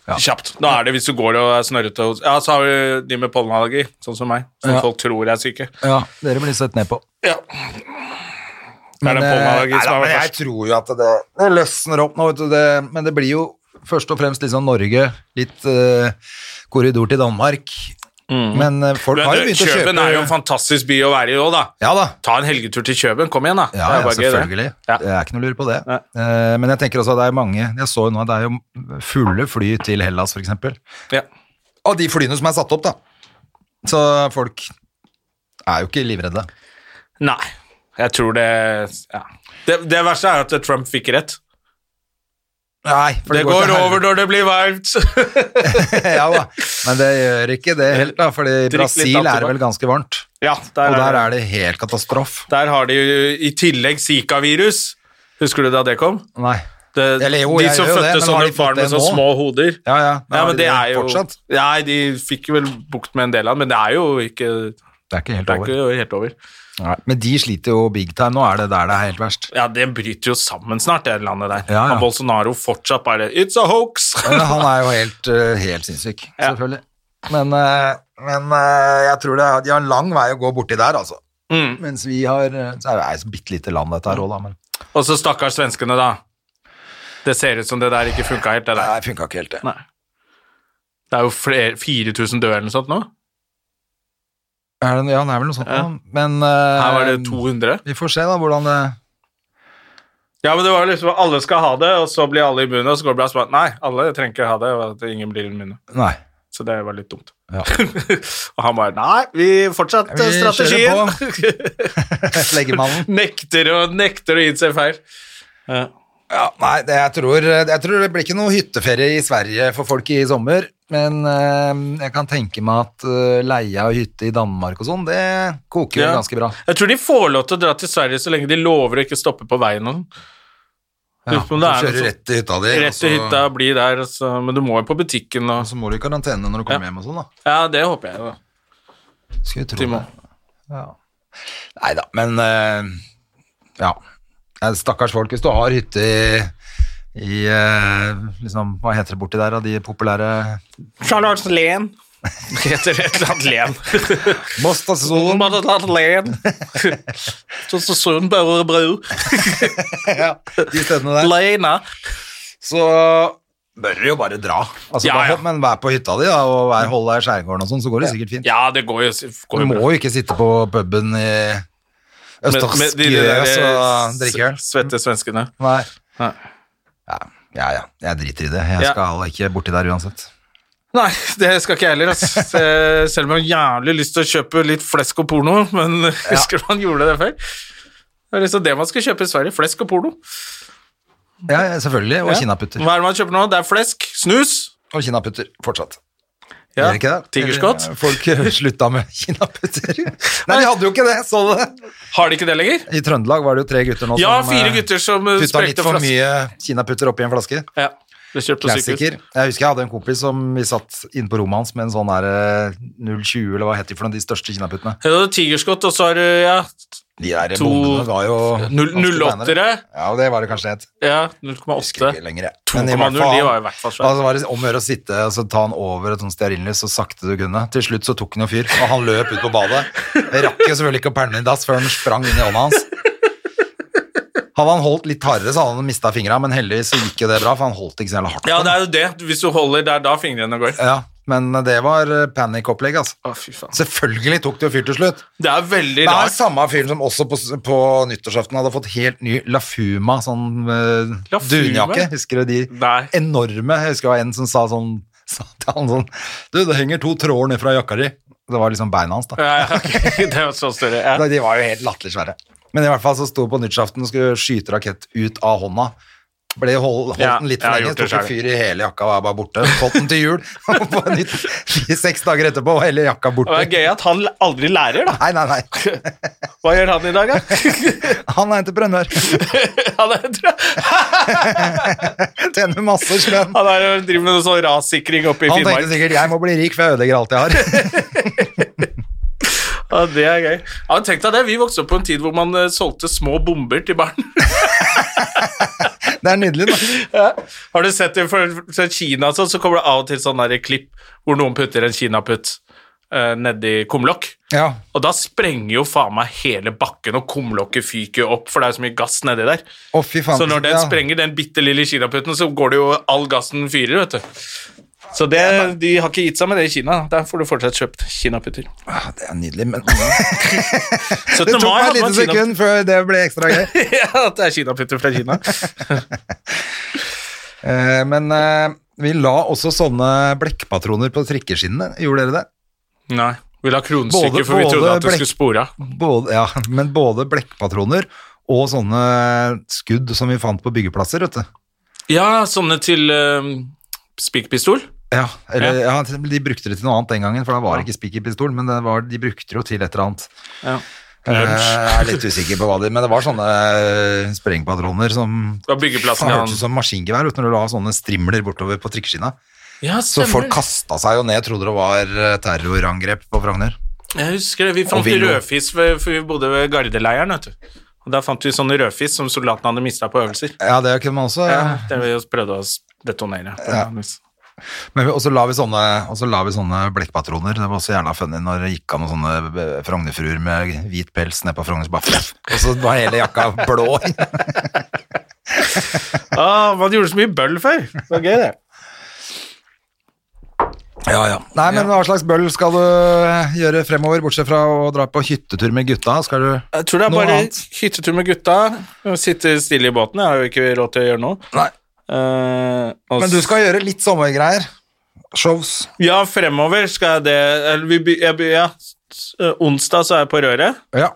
[SPEAKER 1] Kjapt. Da er det hvis du går og er snørrete og Ja, så har du de med pollenallergi, sånn som meg, som
[SPEAKER 2] Ja.
[SPEAKER 1] folk tror er syke.
[SPEAKER 2] Ja, dere blir sett ned på.
[SPEAKER 1] Ja. Det er den
[SPEAKER 2] eh,
[SPEAKER 1] pollenallergien
[SPEAKER 2] nei da,
[SPEAKER 1] som
[SPEAKER 2] men
[SPEAKER 1] er
[SPEAKER 2] jeg
[SPEAKER 1] verst.
[SPEAKER 2] tror jo at det, det løsner opp nå, vet du. Det, men det blir jo først og fremst liksom Norge, litt eh, korridor til Danmark.
[SPEAKER 1] Mm.
[SPEAKER 2] Men eh, folk har jo begynt å kjøpe
[SPEAKER 1] Kjøben er jo en fantastisk by å være i òg, da.
[SPEAKER 2] Ja da.
[SPEAKER 1] Ta en helgetur til Kjøben, kom igjen, da.
[SPEAKER 2] Ja,
[SPEAKER 1] Det er
[SPEAKER 2] ja,
[SPEAKER 1] bare gøy, det.
[SPEAKER 2] selvfølgelig.
[SPEAKER 1] Ja.
[SPEAKER 2] Det er ikke noe lur på det.
[SPEAKER 1] Nei.
[SPEAKER 2] Eh, men jeg tenker også at det er mange Jeg så jo nå at det er jo fulle fly til Hellas, for eksempel.
[SPEAKER 1] Ja.
[SPEAKER 2] Av de flyene som er satt opp, da. Så folk er jo ikke livredde.
[SPEAKER 1] Nei. Jeg tror det ja. det, det verste er at Trump fikk rett.
[SPEAKER 2] Nei, for
[SPEAKER 1] Det,
[SPEAKER 2] til
[SPEAKER 1] går
[SPEAKER 2] helvete.
[SPEAKER 1] over når det blir varmt.
[SPEAKER 2] ja da, men det gjør ikke det helt, da, fordi
[SPEAKER 1] litt
[SPEAKER 2] Brasil er
[SPEAKER 1] antibak.
[SPEAKER 2] vel ganske varmt.
[SPEAKER 1] ja, der,
[SPEAKER 2] Og der
[SPEAKER 1] er det.
[SPEAKER 2] er det helt katastrof.
[SPEAKER 1] der har de jo i tillegg Zika-virus. Husker du da det kom?
[SPEAKER 2] Nei.
[SPEAKER 1] Det,
[SPEAKER 2] Eller jo,
[SPEAKER 1] de
[SPEAKER 2] jeg
[SPEAKER 1] som
[SPEAKER 2] gjør jo
[SPEAKER 1] fødte
[SPEAKER 2] det, men har
[SPEAKER 1] sånne
[SPEAKER 2] de fått
[SPEAKER 1] barn med
[SPEAKER 2] det
[SPEAKER 1] så
[SPEAKER 2] nå?
[SPEAKER 1] små hoder.
[SPEAKER 2] Ja, ja.
[SPEAKER 1] Ja, men det er jo
[SPEAKER 2] Fortsatt.
[SPEAKER 1] Nei, de fikk vel bukt med en del av den, men det er jo ikke
[SPEAKER 2] Det er ikke helt
[SPEAKER 1] det er
[SPEAKER 2] over.
[SPEAKER 1] ikke helt over.
[SPEAKER 2] Nei. Men de sliter jo big time. Nå er det der det er helt verst.
[SPEAKER 1] Ja, det bryter jo sammen snart, det landet der.
[SPEAKER 2] Ja, ja.
[SPEAKER 1] Og Bolsonaro fortsatt bare It's a hoax!
[SPEAKER 2] Men han er jo helt, eh, helt sinnssyk,
[SPEAKER 1] Ja.
[SPEAKER 2] selvfølgelig. Men, eh, men eh, jeg tror det er, de har en lang vei å gå borti der, altså.
[SPEAKER 1] Mm.
[SPEAKER 2] Mens vi har eh, Så er det er et bitte lite land, dette her òg, da. Men
[SPEAKER 1] Og så stakkars svenskene, da. Det ser ut som det der ikke funka helt, det der.
[SPEAKER 2] det funka ikke helt, det.
[SPEAKER 1] Nei. Det er jo flere, 4000 døde eller noe sånt nå.
[SPEAKER 2] Er det, ja, det er vel noe sånt,
[SPEAKER 1] Ja.
[SPEAKER 2] da. Men eh,
[SPEAKER 1] Her var det 200.
[SPEAKER 2] Vi får se, da, hvordan det
[SPEAKER 1] Ja, men det var jo liksom at alle skal ha det, og så blir alle immune, og så går det bra. Så bare, nei, alle trenger ikke ha det, og at ingen blir immune.
[SPEAKER 2] Nei.
[SPEAKER 1] Så det var litt dumt.
[SPEAKER 2] Ja.
[SPEAKER 1] og han bare nei, vi fortsatte
[SPEAKER 2] Vi kjører
[SPEAKER 1] strategien.
[SPEAKER 2] Leggemannen.
[SPEAKER 1] nekter og nekter å innse feil. Ja.
[SPEAKER 2] Ja, nei, det, jeg, tror, jeg tror det blir ikke noe hytteferie i Sverige for folk i sommer. Men eh, jeg kan tenke meg at eh, leie av hytte i Danmark og sånn, det koker jo
[SPEAKER 1] Ja.
[SPEAKER 2] ganske bra.
[SPEAKER 1] Jeg tror de får lov til å dra til Sverige så lenge de lover å ikke stoppe på veien. og sånn.
[SPEAKER 2] Ja,
[SPEAKER 1] Lurer på
[SPEAKER 2] du
[SPEAKER 1] om det er
[SPEAKER 2] kjører
[SPEAKER 1] noe sånn- sånt.
[SPEAKER 2] rett til hytta di, og
[SPEAKER 1] Rett til
[SPEAKER 2] så-
[SPEAKER 1] hytta, bli der, og så, men du må jo på butikken og
[SPEAKER 2] og så må du i karantene når du kommer hjem og sånn, da.
[SPEAKER 1] Ja, det håper jeg. da.
[SPEAKER 2] Skal vi tro
[SPEAKER 1] Timo.
[SPEAKER 2] det. Ja. Nei da, men eh, ja. Eh, Stakkars folk, hvis du har hytte i, i eh, liksom, Hva heter det borti der, av de populære
[SPEAKER 1] Charlotteslen. Heter et eller annet len.
[SPEAKER 2] Bostassolen.
[SPEAKER 1] Charlottenland. Så- så Sundbø bru.
[SPEAKER 2] ja, de stedene der.
[SPEAKER 1] Lena.
[SPEAKER 2] så bør du jo bare dra. Altså,
[SPEAKER 1] Ja,
[SPEAKER 2] da
[SPEAKER 1] ja.
[SPEAKER 2] hopp, Men vær på hytta di da, og vær, hold deg i skjærgården og sånn, så går det sikkert fint.
[SPEAKER 1] Ja, det går jo, går
[SPEAKER 2] Du
[SPEAKER 1] jo
[SPEAKER 2] må
[SPEAKER 1] bra.
[SPEAKER 2] jo ikke sitte på puben i Østafjøs
[SPEAKER 1] de der,
[SPEAKER 2] altså, og
[SPEAKER 1] eh,
[SPEAKER 2] drikke øl.
[SPEAKER 1] s- Svette svenskene.
[SPEAKER 2] Nei.
[SPEAKER 1] Nei.
[SPEAKER 2] Ja, ja, ja, jeg driter i det. Jeg
[SPEAKER 1] Ja.
[SPEAKER 2] skal ikke borti der uansett.
[SPEAKER 1] Nei, det skal ikke jeg heller. ass. Se- Selv om jeg har jævlig lyst til å kjøpe litt flesk og porno, men husker du man gjorde det før? Det er liksom det man skal kjøpe i Sverige. Flesk og porno.
[SPEAKER 2] Ja, ja, selvfølgelig. Og
[SPEAKER 1] Ja.
[SPEAKER 2] kinaputter.
[SPEAKER 1] Hva er det man kjøper nå? Det er flesk, snus
[SPEAKER 2] Og kinaputter fortsatt.
[SPEAKER 1] ja.
[SPEAKER 2] Gjør ikke det?
[SPEAKER 1] Tigerskott.
[SPEAKER 2] Eller, eh, Folk slutta med kinaputter. Nei, de hadde jo ikke det, så du det?
[SPEAKER 1] Har de ikke det lenger?
[SPEAKER 2] I Trøndelag var det jo tre gutter nå
[SPEAKER 1] Ja,
[SPEAKER 2] som
[SPEAKER 1] fire
[SPEAKER 2] eh,
[SPEAKER 1] gutter som eh,
[SPEAKER 2] putta litt
[SPEAKER 1] sprengte
[SPEAKER 2] for
[SPEAKER 1] flaske.
[SPEAKER 2] mye kinaputter oppi en flaske.
[SPEAKER 1] Ja, ble kjøpt på
[SPEAKER 2] Klassiker.
[SPEAKER 1] sykehus.
[SPEAKER 2] Jeg husker jeg hadde en kompis som vi satt inne på rommet hans med en sånn der eh, 020, eller hva het de for noe, de største kinaputtene.
[SPEAKER 1] Ja, det er tigerskott, og så har du ja,
[SPEAKER 2] De der
[SPEAKER 1] To-
[SPEAKER 2] bombene var jo
[SPEAKER 1] null-
[SPEAKER 2] ganske beinharde.
[SPEAKER 1] 08-ere.
[SPEAKER 2] Ja, det var det kanskje det het.
[SPEAKER 1] ja
[SPEAKER 2] Husker
[SPEAKER 1] 0,8.
[SPEAKER 2] ikke lenger, jeg.
[SPEAKER 1] 2,0, de var i hvert fall svære.
[SPEAKER 2] altså, var det om å gjøre å sitte og så ta han over et sånt stearinlys så sakte du kunne. Til slutt så tok han jo fyr, og han løp ut på badet. Jeg rakk jo selvfølgelig ikke å pælme den i dass før han sprang inn i hånda hans. Hadde han holdt litt hardere, så hadde han mista fingra, men heldigvis så gikk jo det bra, for han holdt ikke så jævla hardt.
[SPEAKER 1] Ja,
[SPEAKER 2] på
[SPEAKER 1] det
[SPEAKER 2] den.
[SPEAKER 1] er jo det. Hvis du holder der da fingrene går.
[SPEAKER 2] ja, men det var eh, panikkopplegg, altså.
[SPEAKER 1] Å, fy faen.
[SPEAKER 2] Selvfølgelig tok det jo fyr til slutt.
[SPEAKER 1] Det er veldig
[SPEAKER 2] Det er
[SPEAKER 1] rart.
[SPEAKER 2] samme fyren som også på, på nyttårsaften hadde fått helt ny Lafuma, sånn eh,
[SPEAKER 1] Lafuma?
[SPEAKER 2] dunjakke. Husker du de
[SPEAKER 1] Nei.
[SPEAKER 2] enorme? Jeg husker det var en som sa sånn sa til han sånn Du, det henger to tråder ned fra jakka di. Det var liksom beina hans, da.
[SPEAKER 1] Ja, ja, ok. Det er jo så større. Ja.
[SPEAKER 2] Da, De var jo helt latterlig svære. Men i hvert fall så sto på nyttårsaften og skulle skyte rakett ut av hånda. Ble hold, holdt
[SPEAKER 1] Ja,
[SPEAKER 2] den litt
[SPEAKER 1] jeg har
[SPEAKER 2] for lenge,
[SPEAKER 1] gjort det
[SPEAKER 2] tok jo
[SPEAKER 1] selv.
[SPEAKER 2] fyr i hele jakka og var bare borte. Fått den til jul. og på nytt, Seks dager etterpå var hele
[SPEAKER 1] Og
[SPEAKER 2] jakka
[SPEAKER 1] Det
[SPEAKER 2] borte.
[SPEAKER 1] er gøy at han aldri lærer, da.
[SPEAKER 2] Nei, nei, nei.
[SPEAKER 1] Hva gjør han i dag, da?
[SPEAKER 2] Han er entreprenør.
[SPEAKER 1] Han er, tror jeg-
[SPEAKER 2] Tjener masse slønn.
[SPEAKER 1] han er, driver med noe sånn rassikring oppe i
[SPEAKER 2] Han tenkte
[SPEAKER 1] Finnmark.
[SPEAKER 2] sikkert 'jeg må bli rik, for jeg ødelegger alt jeg har'.
[SPEAKER 1] Ja, det er gøy. Ja, tenk deg det. Vi vokste opp på en tid hvor man eh, solgte små bomber til barn.
[SPEAKER 2] Det er nydelig, da.
[SPEAKER 1] Har du sett det fra fra Kina, så, så kommer det av og til sånn der klipp hvor noen putter en kinaputt eh, nedi kumlokk.
[SPEAKER 2] Ja.
[SPEAKER 1] Og da sprenger jo faen meg hele bakken, og kumlokket fyker jo opp, for det er jo så mye gass nedi der.
[SPEAKER 2] Å, fy faen.
[SPEAKER 1] Så når den
[SPEAKER 2] ja.
[SPEAKER 1] sprenger den bitte lille kinaputten, så går det jo all gassen fyrer, vet du. Så det, de har ikke gitt seg med det i Kina. Der får du fortsatt kjøpt kinaputter.
[SPEAKER 2] Ah, Det er nydelig, men
[SPEAKER 1] 17.
[SPEAKER 2] det tok
[SPEAKER 1] mai hadde
[SPEAKER 2] meg et lite
[SPEAKER 1] man kinaputter.
[SPEAKER 2] sekund før det ble ekstra gøy.
[SPEAKER 1] Ja, at det er kinaputter fra Kina.
[SPEAKER 2] Eh, Men eh, vi la også sånne blekkpatroner på trikkeskinnene. Gjorde dere det?
[SPEAKER 1] Nei. Vi la kronestykker,
[SPEAKER 2] Både-
[SPEAKER 1] for vi trodde
[SPEAKER 2] både
[SPEAKER 1] at det
[SPEAKER 2] blekk-
[SPEAKER 1] skulle spore av.
[SPEAKER 2] Både, ja, men både blekkpatroner og sånne skudd som vi fant på byggeplasser, vet du.
[SPEAKER 1] Ja, sånne til ehm, spikerpistol.
[SPEAKER 2] Ja, eller, ja. De brukte det til noe annet den gangen, for da var det ikke spikerpistol, men det var, de brukte det jo til et eller annet.
[SPEAKER 1] Ja.
[SPEAKER 2] Eh, Jeg er litt usikker på hva de Men det var sånne eh, sprengpatroner som
[SPEAKER 1] Det var byggeplassen,
[SPEAKER 2] Faen,
[SPEAKER 1] ja.
[SPEAKER 2] hørtes ut som maskingevær uten å la sånne strimler bortover på trikkeskinna.
[SPEAKER 1] Ja,
[SPEAKER 2] Så folk
[SPEAKER 1] stemmer.
[SPEAKER 2] kasta seg jo ned, trodde det var eh, terrorangrep på Frogner.
[SPEAKER 1] Jeg husker det. Vi fant
[SPEAKER 2] vi lo.
[SPEAKER 1] rødfisk, ved- for vi bodde ved gardeleiren, vet du. Og der fant vi sånne rødfisk som soldatene hadde mista på øvelser.
[SPEAKER 2] Ja, det kunne man også.
[SPEAKER 1] Ja,
[SPEAKER 2] Ja.
[SPEAKER 1] det vi prøvde å s- detonere. på en vis.
[SPEAKER 2] Men vi- Og så la vi sånne, og så la vi sånne blekkpatroner. Det var også jævla funny når det gikk av noen sånne eh, Frogner-fruer med hvit pels ned på Frogner, så bare fluff, og så var hele jakka blå.
[SPEAKER 1] Ah, man gjorde så mye bøll før. Det var gøy, det.
[SPEAKER 2] Ja, ja. Nei, men hva slags bøll skal du eh, gjøre fremover, bortsett fra å dra på hyttetur med gutta? Skal du
[SPEAKER 1] Jeg tror det er
[SPEAKER 2] Noe
[SPEAKER 1] bare
[SPEAKER 2] annet?
[SPEAKER 1] hyttetur med gutta. Sitte stille i båten. Jeg har jo ikke råd til å gjøre noe.
[SPEAKER 2] Nei.
[SPEAKER 1] Eh, og
[SPEAKER 2] Men du skal gjøre litt sommergreier. Shows.
[SPEAKER 1] Ja, fremover skal jeg det. Eller vi, be- jeg, be- ja. S- eh, Onsdag så er jeg på røret,
[SPEAKER 2] Ja.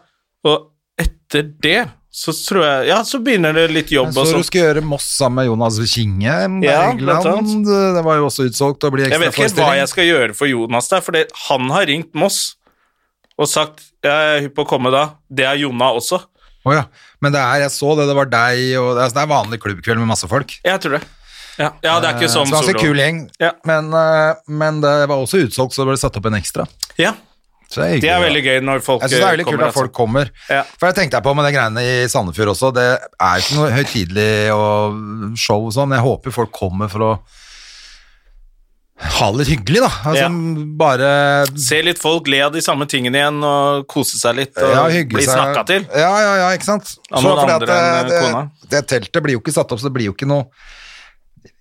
[SPEAKER 1] og etter det så tror jeg Ja, så begynner det litt jobb
[SPEAKER 2] Så
[SPEAKER 1] og
[SPEAKER 2] du
[SPEAKER 1] sånn.
[SPEAKER 2] skal gjøre Moss sammen med Jonas Kinge.
[SPEAKER 1] Ja, blant
[SPEAKER 2] Bergland. Det var jo også utsolgt å bli
[SPEAKER 1] Jeg vet ikke helt hva jeg
[SPEAKER 2] ekstraforestilling.
[SPEAKER 1] skal gjøre for Jonas der, for det- han har ringt Moss og sagt jeg er hypp på å komme da. Det er Jonna også.
[SPEAKER 2] Å ja. Men det er, jeg så det, det var deg og Det er, det er vanlig klubbkveld med masse folk.
[SPEAKER 1] Jeg tror det. Ja, ja det er ikke
[SPEAKER 2] Eh,
[SPEAKER 1] sånn
[SPEAKER 2] så ganske
[SPEAKER 1] solo.
[SPEAKER 2] kul gjeng.
[SPEAKER 1] Ja.
[SPEAKER 2] Men, eh, men det var også utsolgt, så det ble satt opp en ekstra.
[SPEAKER 1] Ja,
[SPEAKER 2] Så
[SPEAKER 1] det
[SPEAKER 2] det er,
[SPEAKER 1] er
[SPEAKER 2] hyggelig, da.
[SPEAKER 1] veldig gøy når folk
[SPEAKER 2] Jeg synes det er
[SPEAKER 1] eh,
[SPEAKER 2] veldig
[SPEAKER 1] kommer.
[SPEAKER 2] kult at folk kommer.
[SPEAKER 1] Ja.
[SPEAKER 2] For jeg tenkte jeg på med de greiene i Sandefjord også, det er ikke noe høytidelig og show og sånn, jeg håper folk kommer for å ha det litt hyggelig da, altså
[SPEAKER 1] Ja.
[SPEAKER 2] bare
[SPEAKER 1] Se litt folk le av de samme tingene igjen og kose seg litt og
[SPEAKER 2] ja, hygge
[SPEAKER 1] bli
[SPEAKER 2] seg.
[SPEAKER 1] snakka til.
[SPEAKER 2] Ja, ja, ja, ikke sant?
[SPEAKER 1] Av
[SPEAKER 2] Så
[SPEAKER 1] noen
[SPEAKER 2] fordi
[SPEAKER 1] andre enn,
[SPEAKER 2] det,
[SPEAKER 1] eh, kona.
[SPEAKER 2] det, det teltet blir jo ikke satt opp, så det blir jo ikke noe,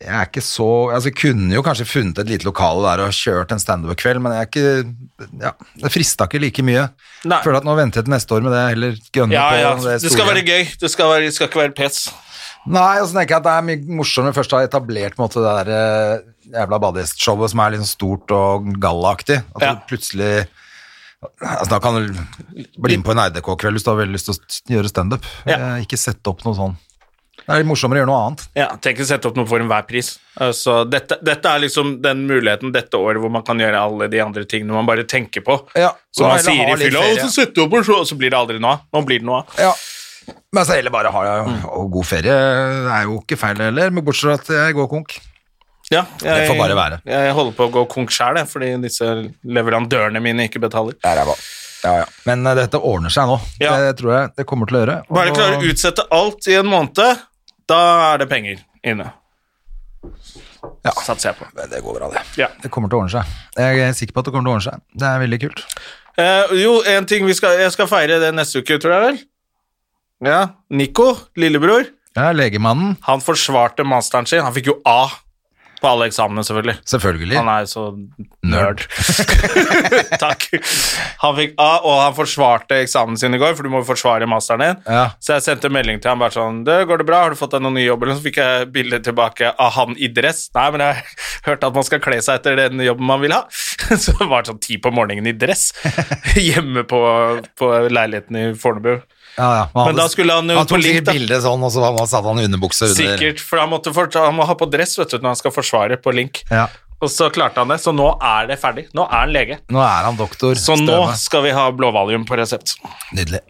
[SPEAKER 2] jeg er ikke så, altså jeg kunne jo kanskje funnet et lite lokale der og kjørt en stand-up kveld, men jeg er ikke, ja, det frister ikke like mye.
[SPEAKER 1] Nei.
[SPEAKER 2] Føler at nå venter jeg til neste år med det, heller gønne
[SPEAKER 1] Ja,
[SPEAKER 2] på
[SPEAKER 1] ja.
[SPEAKER 2] det
[SPEAKER 1] Det skal
[SPEAKER 2] store.
[SPEAKER 1] være gøy. Det skal, være, det skal ikke være pes.
[SPEAKER 2] Nei, og så tenker jeg at det er mye morsommere først å ha etablert på en måte, det der eh, jævla badegjestshowet som er litt sånn stort og gallaaktig. At
[SPEAKER 1] Ja.
[SPEAKER 2] du plutselig altså, Da kan du bli med på en RDK-kveld hvis du har veldig lyst til å s- gjøre standup.
[SPEAKER 1] Ja.
[SPEAKER 2] Eh, Ikke sette opp noe sånn. Det er litt morsommere å gjøre noe annet.
[SPEAKER 1] Ja, Tenk å sette opp noe for enhver pris. Altså, dette, dette er liksom den muligheten dette året hvor man kan gjøre alle de andre tingene man bare tenker på.
[SPEAKER 2] Ja,
[SPEAKER 1] Som
[SPEAKER 2] og
[SPEAKER 1] man
[SPEAKER 2] heller
[SPEAKER 1] sier i
[SPEAKER 2] ha litt
[SPEAKER 1] fylla,
[SPEAKER 2] ferie.
[SPEAKER 1] og så setter du opp en show, og så blir det aldri noe av. Nå blir det noe av.
[SPEAKER 2] Ja. Men så heller bare ha og god ferie. Det er jo ikke feil heller, men bortsett fra at jeg går konk.
[SPEAKER 1] Ja, jeg,
[SPEAKER 2] Det får bare være.
[SPEAKER 1] Jeg holder på å gå konk sjæl, jeg, fordi disse leverandørene mine ikke betaler.
[SPEAKER 2] Det er ræva. Ja, ja. Men eh, dette ordner seg nå.
[SPEAKER 1] Ja.
[SPEAKER 2] Det tror jeg det kommer til å gjøre.
[SPEAKER 1] Bare
[SPEAKER 2] Og-
[SPEAKER 1] klarer å utsette alt i en måned, da er det penger inne.
[SPEAKER 2] Ja.
[SPEAKER 1] Satser jeg på.
[SPEAKER 2] Men det går bra, det.
[SPEAKER 1] Ja.
[SPEAKER 2] Det kommer til å ordne seg. Jeg er sikker på at det kommer til å ordne seg. Det er veldig kult.
[SPEAKER 1] Eh, jo, en ting vi skal, jeg skal feire det neste uke, tror jeg vel. Ja, Nico, lillebror,
[SPEAKER 2] Ja, legemannen,
[SPEAKER 1] han forsvarte masteren sin. Han fikk jo A på alle eksamene, selvfølgelig.
[SPEAKER 2] selvfølgelig.
[SPEAKER 1] Han er jo så nerd. Takk. Han fikk A, og han forsvarte eksamen sin i går, for du må jo forsvare masteren din.
[SPEAKER 2] Ja.
[SPEAKER 1] Så jeg sendte melding til han bare sånn «Du, 'Går det bra? Har du fått deg noen ny jobb?' Eller noe? så fikk jeg bilde tilbake av han i dress. Nei, men jeg hørte at man skal kle seg etter den jobben man vil ha. Så det var sånn ti på morgenen i dress hjemme på, på leiligheten i Fornebu.
[SPEAKER 2] Ja, ja.
[SPEAKER 1] Men da skulle han jo
[SPEAKER 2] Han
[SPEAKER 1] på
[SPEAKER 2] tok
[SPEAKER 1] link,
[SPEAKER 2] sikkert
[SPEAKER 1] da.
[SPEAKER 2] bildet sånn, og så var- satte han underbukse under.
[SPEAKER 1] Sikkert, for han, måtte fort, han må ha på dress vet du, når han skal forsvare på Link.
[SPEAKER 2] Ja.
[SPEAKER 1] Og så klarte han det, så nå er det ferdig. Nå er han lege.
[SPEAKER 2] Nå er han doktor.
[SPEAKER 1] Så nå
[SPEAKER 2] Støme.
[SPEAKER 1] skal vi ha blåvalium på resept.
[SPEAKER 2] Nydelig.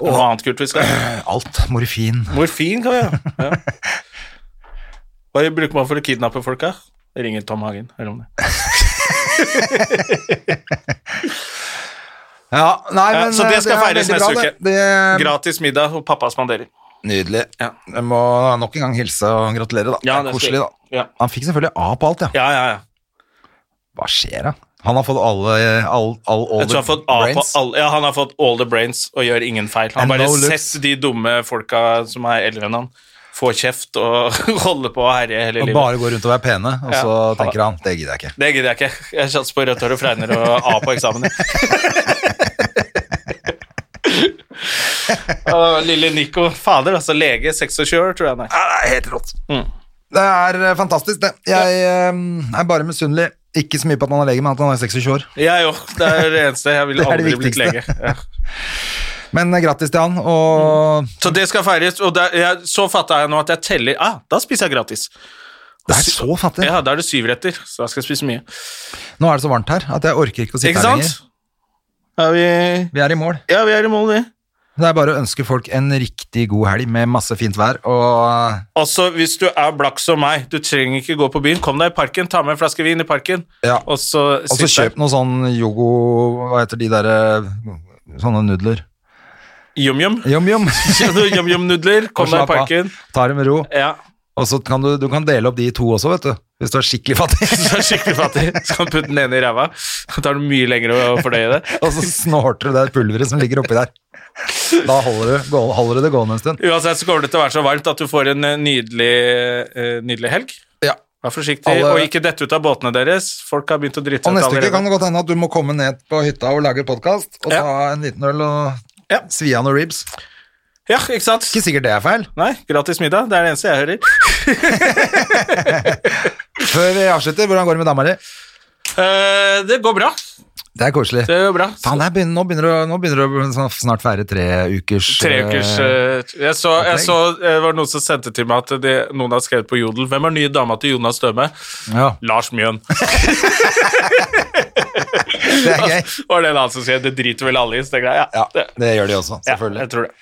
[SPEAKER 1] Og noe annet kult vi skal ha.
[SPEAKER 2] Alt. Morfin.
[SPEAKER 1] Morfin kan vi ha. Ja. Hva bruker man for å kidnappe folk, da? Ringer Tom Hagen, hør om det.
[SPEAKER 2] Ja, nei,
[SPEAKER 1] Ja,
[SPEAKER 2] men
[SPEAKER 1] så det
[SPEAKER 2] eh,
[SPEAKER 1] skal
[SPEAKER 2] er
[SPEAKER 1] feires
[SPEAKER 2] veldig
[SPEAKER 1] neste
[SPEAKER 2] bra,
[SPEAKER 1] uke.
[SPEAKER 2] Det. Det,
[SPEAKER 1] Gratis middag, og pappa spanderer.
[SPEAKER 2] nydelig.
[SPEAKER 1] Ja.
[SPEAKER 2] Jeg må nok en gang hilse og gratulere, da.
[SPEAKER 1] Ja,
[SPEAKER 2] det er
[SPEAKER 1] det skal-
[SPEAKER 2] Koselig, da.
[SPEAKER 1] Ja.
[SPEAKER 2] Han fikk selvfølgelig A på alt, ja.
[SPEAKER 1] Ja, ja, ja.
[SPEAKER 2] Hva skjer, da? Han har fått alle eh, all, all, all
[SPEAKER 1] Jeg tror han har fått A på alle Ja, han har fått all the brains og gjør ingen feil. Han
[SPEAKER 2] And
[SPEAKER 1] bare
[SPEAKER 2] no looks.
[SPEAKER 1] sett de dumme folka som er eldre enn han, få kjeft og holde på å herje hele
[SPEAKER 2] Og
[SPEAKER 1] livet.
[SPEAKER 2] bare går rundt og er pene, og
[SPEAKER 1] Ja.
[SPEAKER 2] så tenker han det gidder jeg ikke.
[SPEAKER 1] Det gidder jeg ikke. Jeg satser på rødt hår og fregner og A på eksamen. Å, Ah, lille Nico. Fader, altså. Lege, 26 år, tror jeg han er.
[SPEAKER 2] Ja, det er helt rått.
[SPEAKER 1] Mm.
[SPEAKER 2] Det er eh, fantastisk, det. Jeg eh, er bare misunnelig. Ikke så mye på at han er lege, men at han er 26 år.
[SPEAKER 1] Jeg òg. Det er det eneste. Jeg ville
[SPEAKER 2] Det er det
[SPEAKER 1] aldri blitt lege.
[SPEAKER 2] viktigste.
[SPEAKER 1] Ja.
[SPEAKER 2] Men eh, grattis til han, og
[SPEAKER 1] Så det skal feires. Og der, jeg, så fatta jeg nå at jeg teller Ah, da spiser jeg gratis.
[SPEAKER 2] det er så fattig.
[SPEAKER 1] Ja, da er det syvretter, så da skal jeg spise mye.
[SPEAKER 2] Nå er det så varmt her at jeg orker ikke å sitte
[SPEAKER 1] Ikke
[SPEAKER 2] her
[SPEAKER 1] sant?
[SPEAKER 2] lenger.
[SPEAKER 1] Er vi
[SPEAKER 2] Vi er i mål.
[SPEAKER 1] Ja, vi er i mål, vi.
[SPEAKER 2] Det er bare å ønske folk en riktig god helg med masse fint vær, og
[SPEAKER 1] Altså, hvis du er blakk som meg, du trenger ikke gå på byen. Kom deg i parken, ta med en flaske vin i parken,
[SPEAKER 2] eh, Ja.
[SPEAKER 1] og så
[SPEAKER 2] og så
[SPEAKER 1] sitt der.
[SPEAKER 2] kjøp noe sånn yogo Hva heter de derre Sånne nudler.
[SPEAKER 1] Yum-yum.
[SPEAKER 2] Yum-yum.
[SPEAKER 1] Yum-yum-nudler. Kom deg i parken.
[SPEAKER 2] Ta det med ro.
[SPEAKER 1] Ja.
[SPEAKER 2] Og så kan du, du kan dele opp de i to også, vet du. Hvis du er skikkelig fattig.
[SPEAKER 1] Du er skikkelig fattig, så kan du putte den ene i ræva. Så tar det mye lengre å fordøye det.
[SPEAKER 2] Og så snorter du det pulveret som ligger oppi der. Da holder du, gå- holder du det gående en stund.
[SPEAKER 1] Uansett så kommer det til å være så varmt at du får en eh, nydelig, eh, nydelig helg.
[SPEAKER 2] Ja.
[SPEAKER 1] Vær forsiktig,
[SPEAKER 2] Alle-
[SPEAKER 1] og ikke dette ut av båtene deres. Folk har begynt å drite
[SPEAKER 2] Og
[SPEAKER 1] seg ut
[SPEAKER 2] neste uke kan
[SPEAKER 1] allerede.
[SPEAKER 2] det godt hende at du må komme ned på hytta og lage podkast, og
[SPEAKER 1] Ja.
[SPEAKER 2] ta en liten øl og
[SPEAKER 1] Ja.
[SPEAKER 2] svi av noen ribs.
[SPEAKER 1] Ja, ikke sant?
[SPEAKER 2] Ikke sikkert det er feil.
[SPEAKER 1] Nei, gratis middag. Det er det eneste jeg hører.
[SPEAKER 2] Før vi avslutter, hvordan går det med dama di?
[SPEAKER 1] Eh, det går bra.
[SPEAKER 2] Det er koselig.
[SPEAKER 1] Det går bra.
[SPEAKER 2] Faen, det er begynner, nå begynner du, nå begynner du å sånn snart feire tre ukers
[SPEAKER 1] Tre ukers
[SPEAKER 2] eh,
[SPEAKER 1] eh, Jeg så, jeg
[SPEAKER 2] opplegg.
[SPEAKER 1] så eh, det var noen som sendte til meg at det, noen har skrevet på Jodel Hvem er nye dama til Jonas Døme?
[SPEAKER 2] Ja,
[SPEAKER 1] Lars Mjøen.
[SPEAKER 2] det er gøy.
[SPEAKER 1] var det en annen som skrev. Det driter vel alle i. Så tenkte jeg, ja,
[SPEAKER 2] Ja,
[SPEAKER 1] det,
[SPEAKER 2] det gjør de også,
[SPEAKER 1] ja,
[SPEAKER 2] selvfølgelig.
[SPEAKER 1] jeg tror det.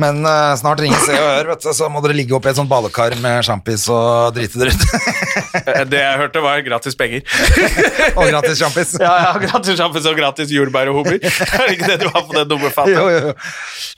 [SPEAKER 2] Men eh, snart ringer Se og Hør, vet du, så må dere ligge oppi et sånt badekar med sjampis og drite dere ut.
[SPEAKER 1] Eh, Det jeg hørte, var gratis penger.
[SPEAKER 2] og gratis sjampis.
[SPEAKER 1] Ja, ja, gratis sjampis og gratis jordbær og hummer. Er det ikke det du har på den dumme
[SPEAKER 2] Jo,
[SPEAKER 1] fatet?
[SPEAKER 2] jo, jo.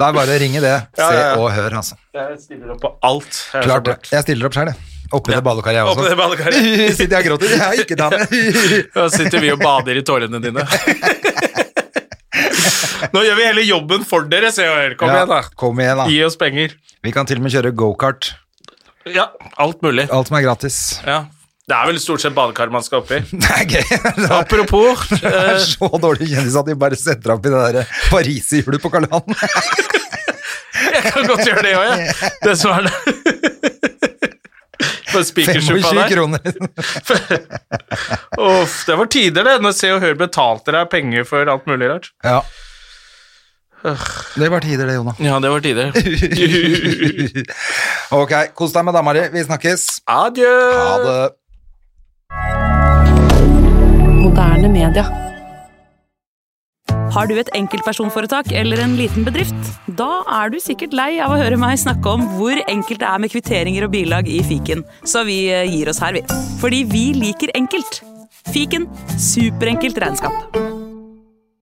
[SPEAKER 2] Det er bare å ringe det.
[SPEAKER 1] Ja,
[SPEAKER 2] Se
[SPEAKER 1] ja, ja.
[SPEAKER 2] og hør, altså.
[SPEAKER 1] Jeg stiller opp på alt. Jeg er så
[SPEAKER 2] Klart det.
[SPEAKER 1] blakk.
[SPEAKER 2] Jeg stiller opp sjøl, jeg. Oppi det badekaret, jeg
[SPEAKER 1] Oppe i det
[SPEAKER 2] også.
[SPEAKER 1] badekaret.
[SPEAKER 2] Sitter jeg og gråter? Jeg er ikke dame.
[SPEAKER 1] Da sitter vi og bader i tårene dine. Nå gjør vi hele jobben for dere, Se og Hør. Kom
[SPEAKER 2] Ja,
[SPEAKER 1] igjen, da.
[SPEAKER 2] Kom igjen, da.
[SPEAKER 1] Gi oss penger.
[SPEAKER 2] Vi kan til og med kjøre gokart.
[SPEAKER 1] Ja, alt mulig.
[SPEAKER 2] Alt som er gratis.
[SPEAKER 1] Ja. Det er vel stort sett badekar man skal oppi.
[SPEAKER 2] Det er gøy. Det er-
[SPEAKER 1] Apropos
[SPEAKER 2] det er
[SPEAKER 1] eh,
[SPEAKER 2] så dårlig kjendis at de bare setter opp i det der pariserhjulet på Karl Johan.
[SPEAKER 1] Jeg kan godt gjøre det òg, jeg. Det som er det. På spikersuppa
[SPEAKER 2] 25
[SPEAKER 1] der.
[SPEAKER 2] kroner.
[SPEAKER 1] Uff, det var tider, det. Når Se og Hør betalte deg penger for alt mulig rart.
[SPEAKER 2] Ja. Det var tider, det, Jonah.
[SPEAKER 1] Ja, det var tider.
[SPEAKER 2] Ok, kos deg med dama di. Vi snakkes.
[SPEAKER 1] Adjø.
[SPEAKER 2] Ha det.
[SPEAKER 3] Moderne media.
[SPEAKER 4] Har du et enkeltpersonforetak eller en liten bedrift? Da er du sikkert lei av å høre meg snakke om hvor enkelt det er med kvitteringer og bilag i fiken, så vi eh, gir oss her, vi. Fordi vi liker enkelt. Fiken superenkelt regnskap.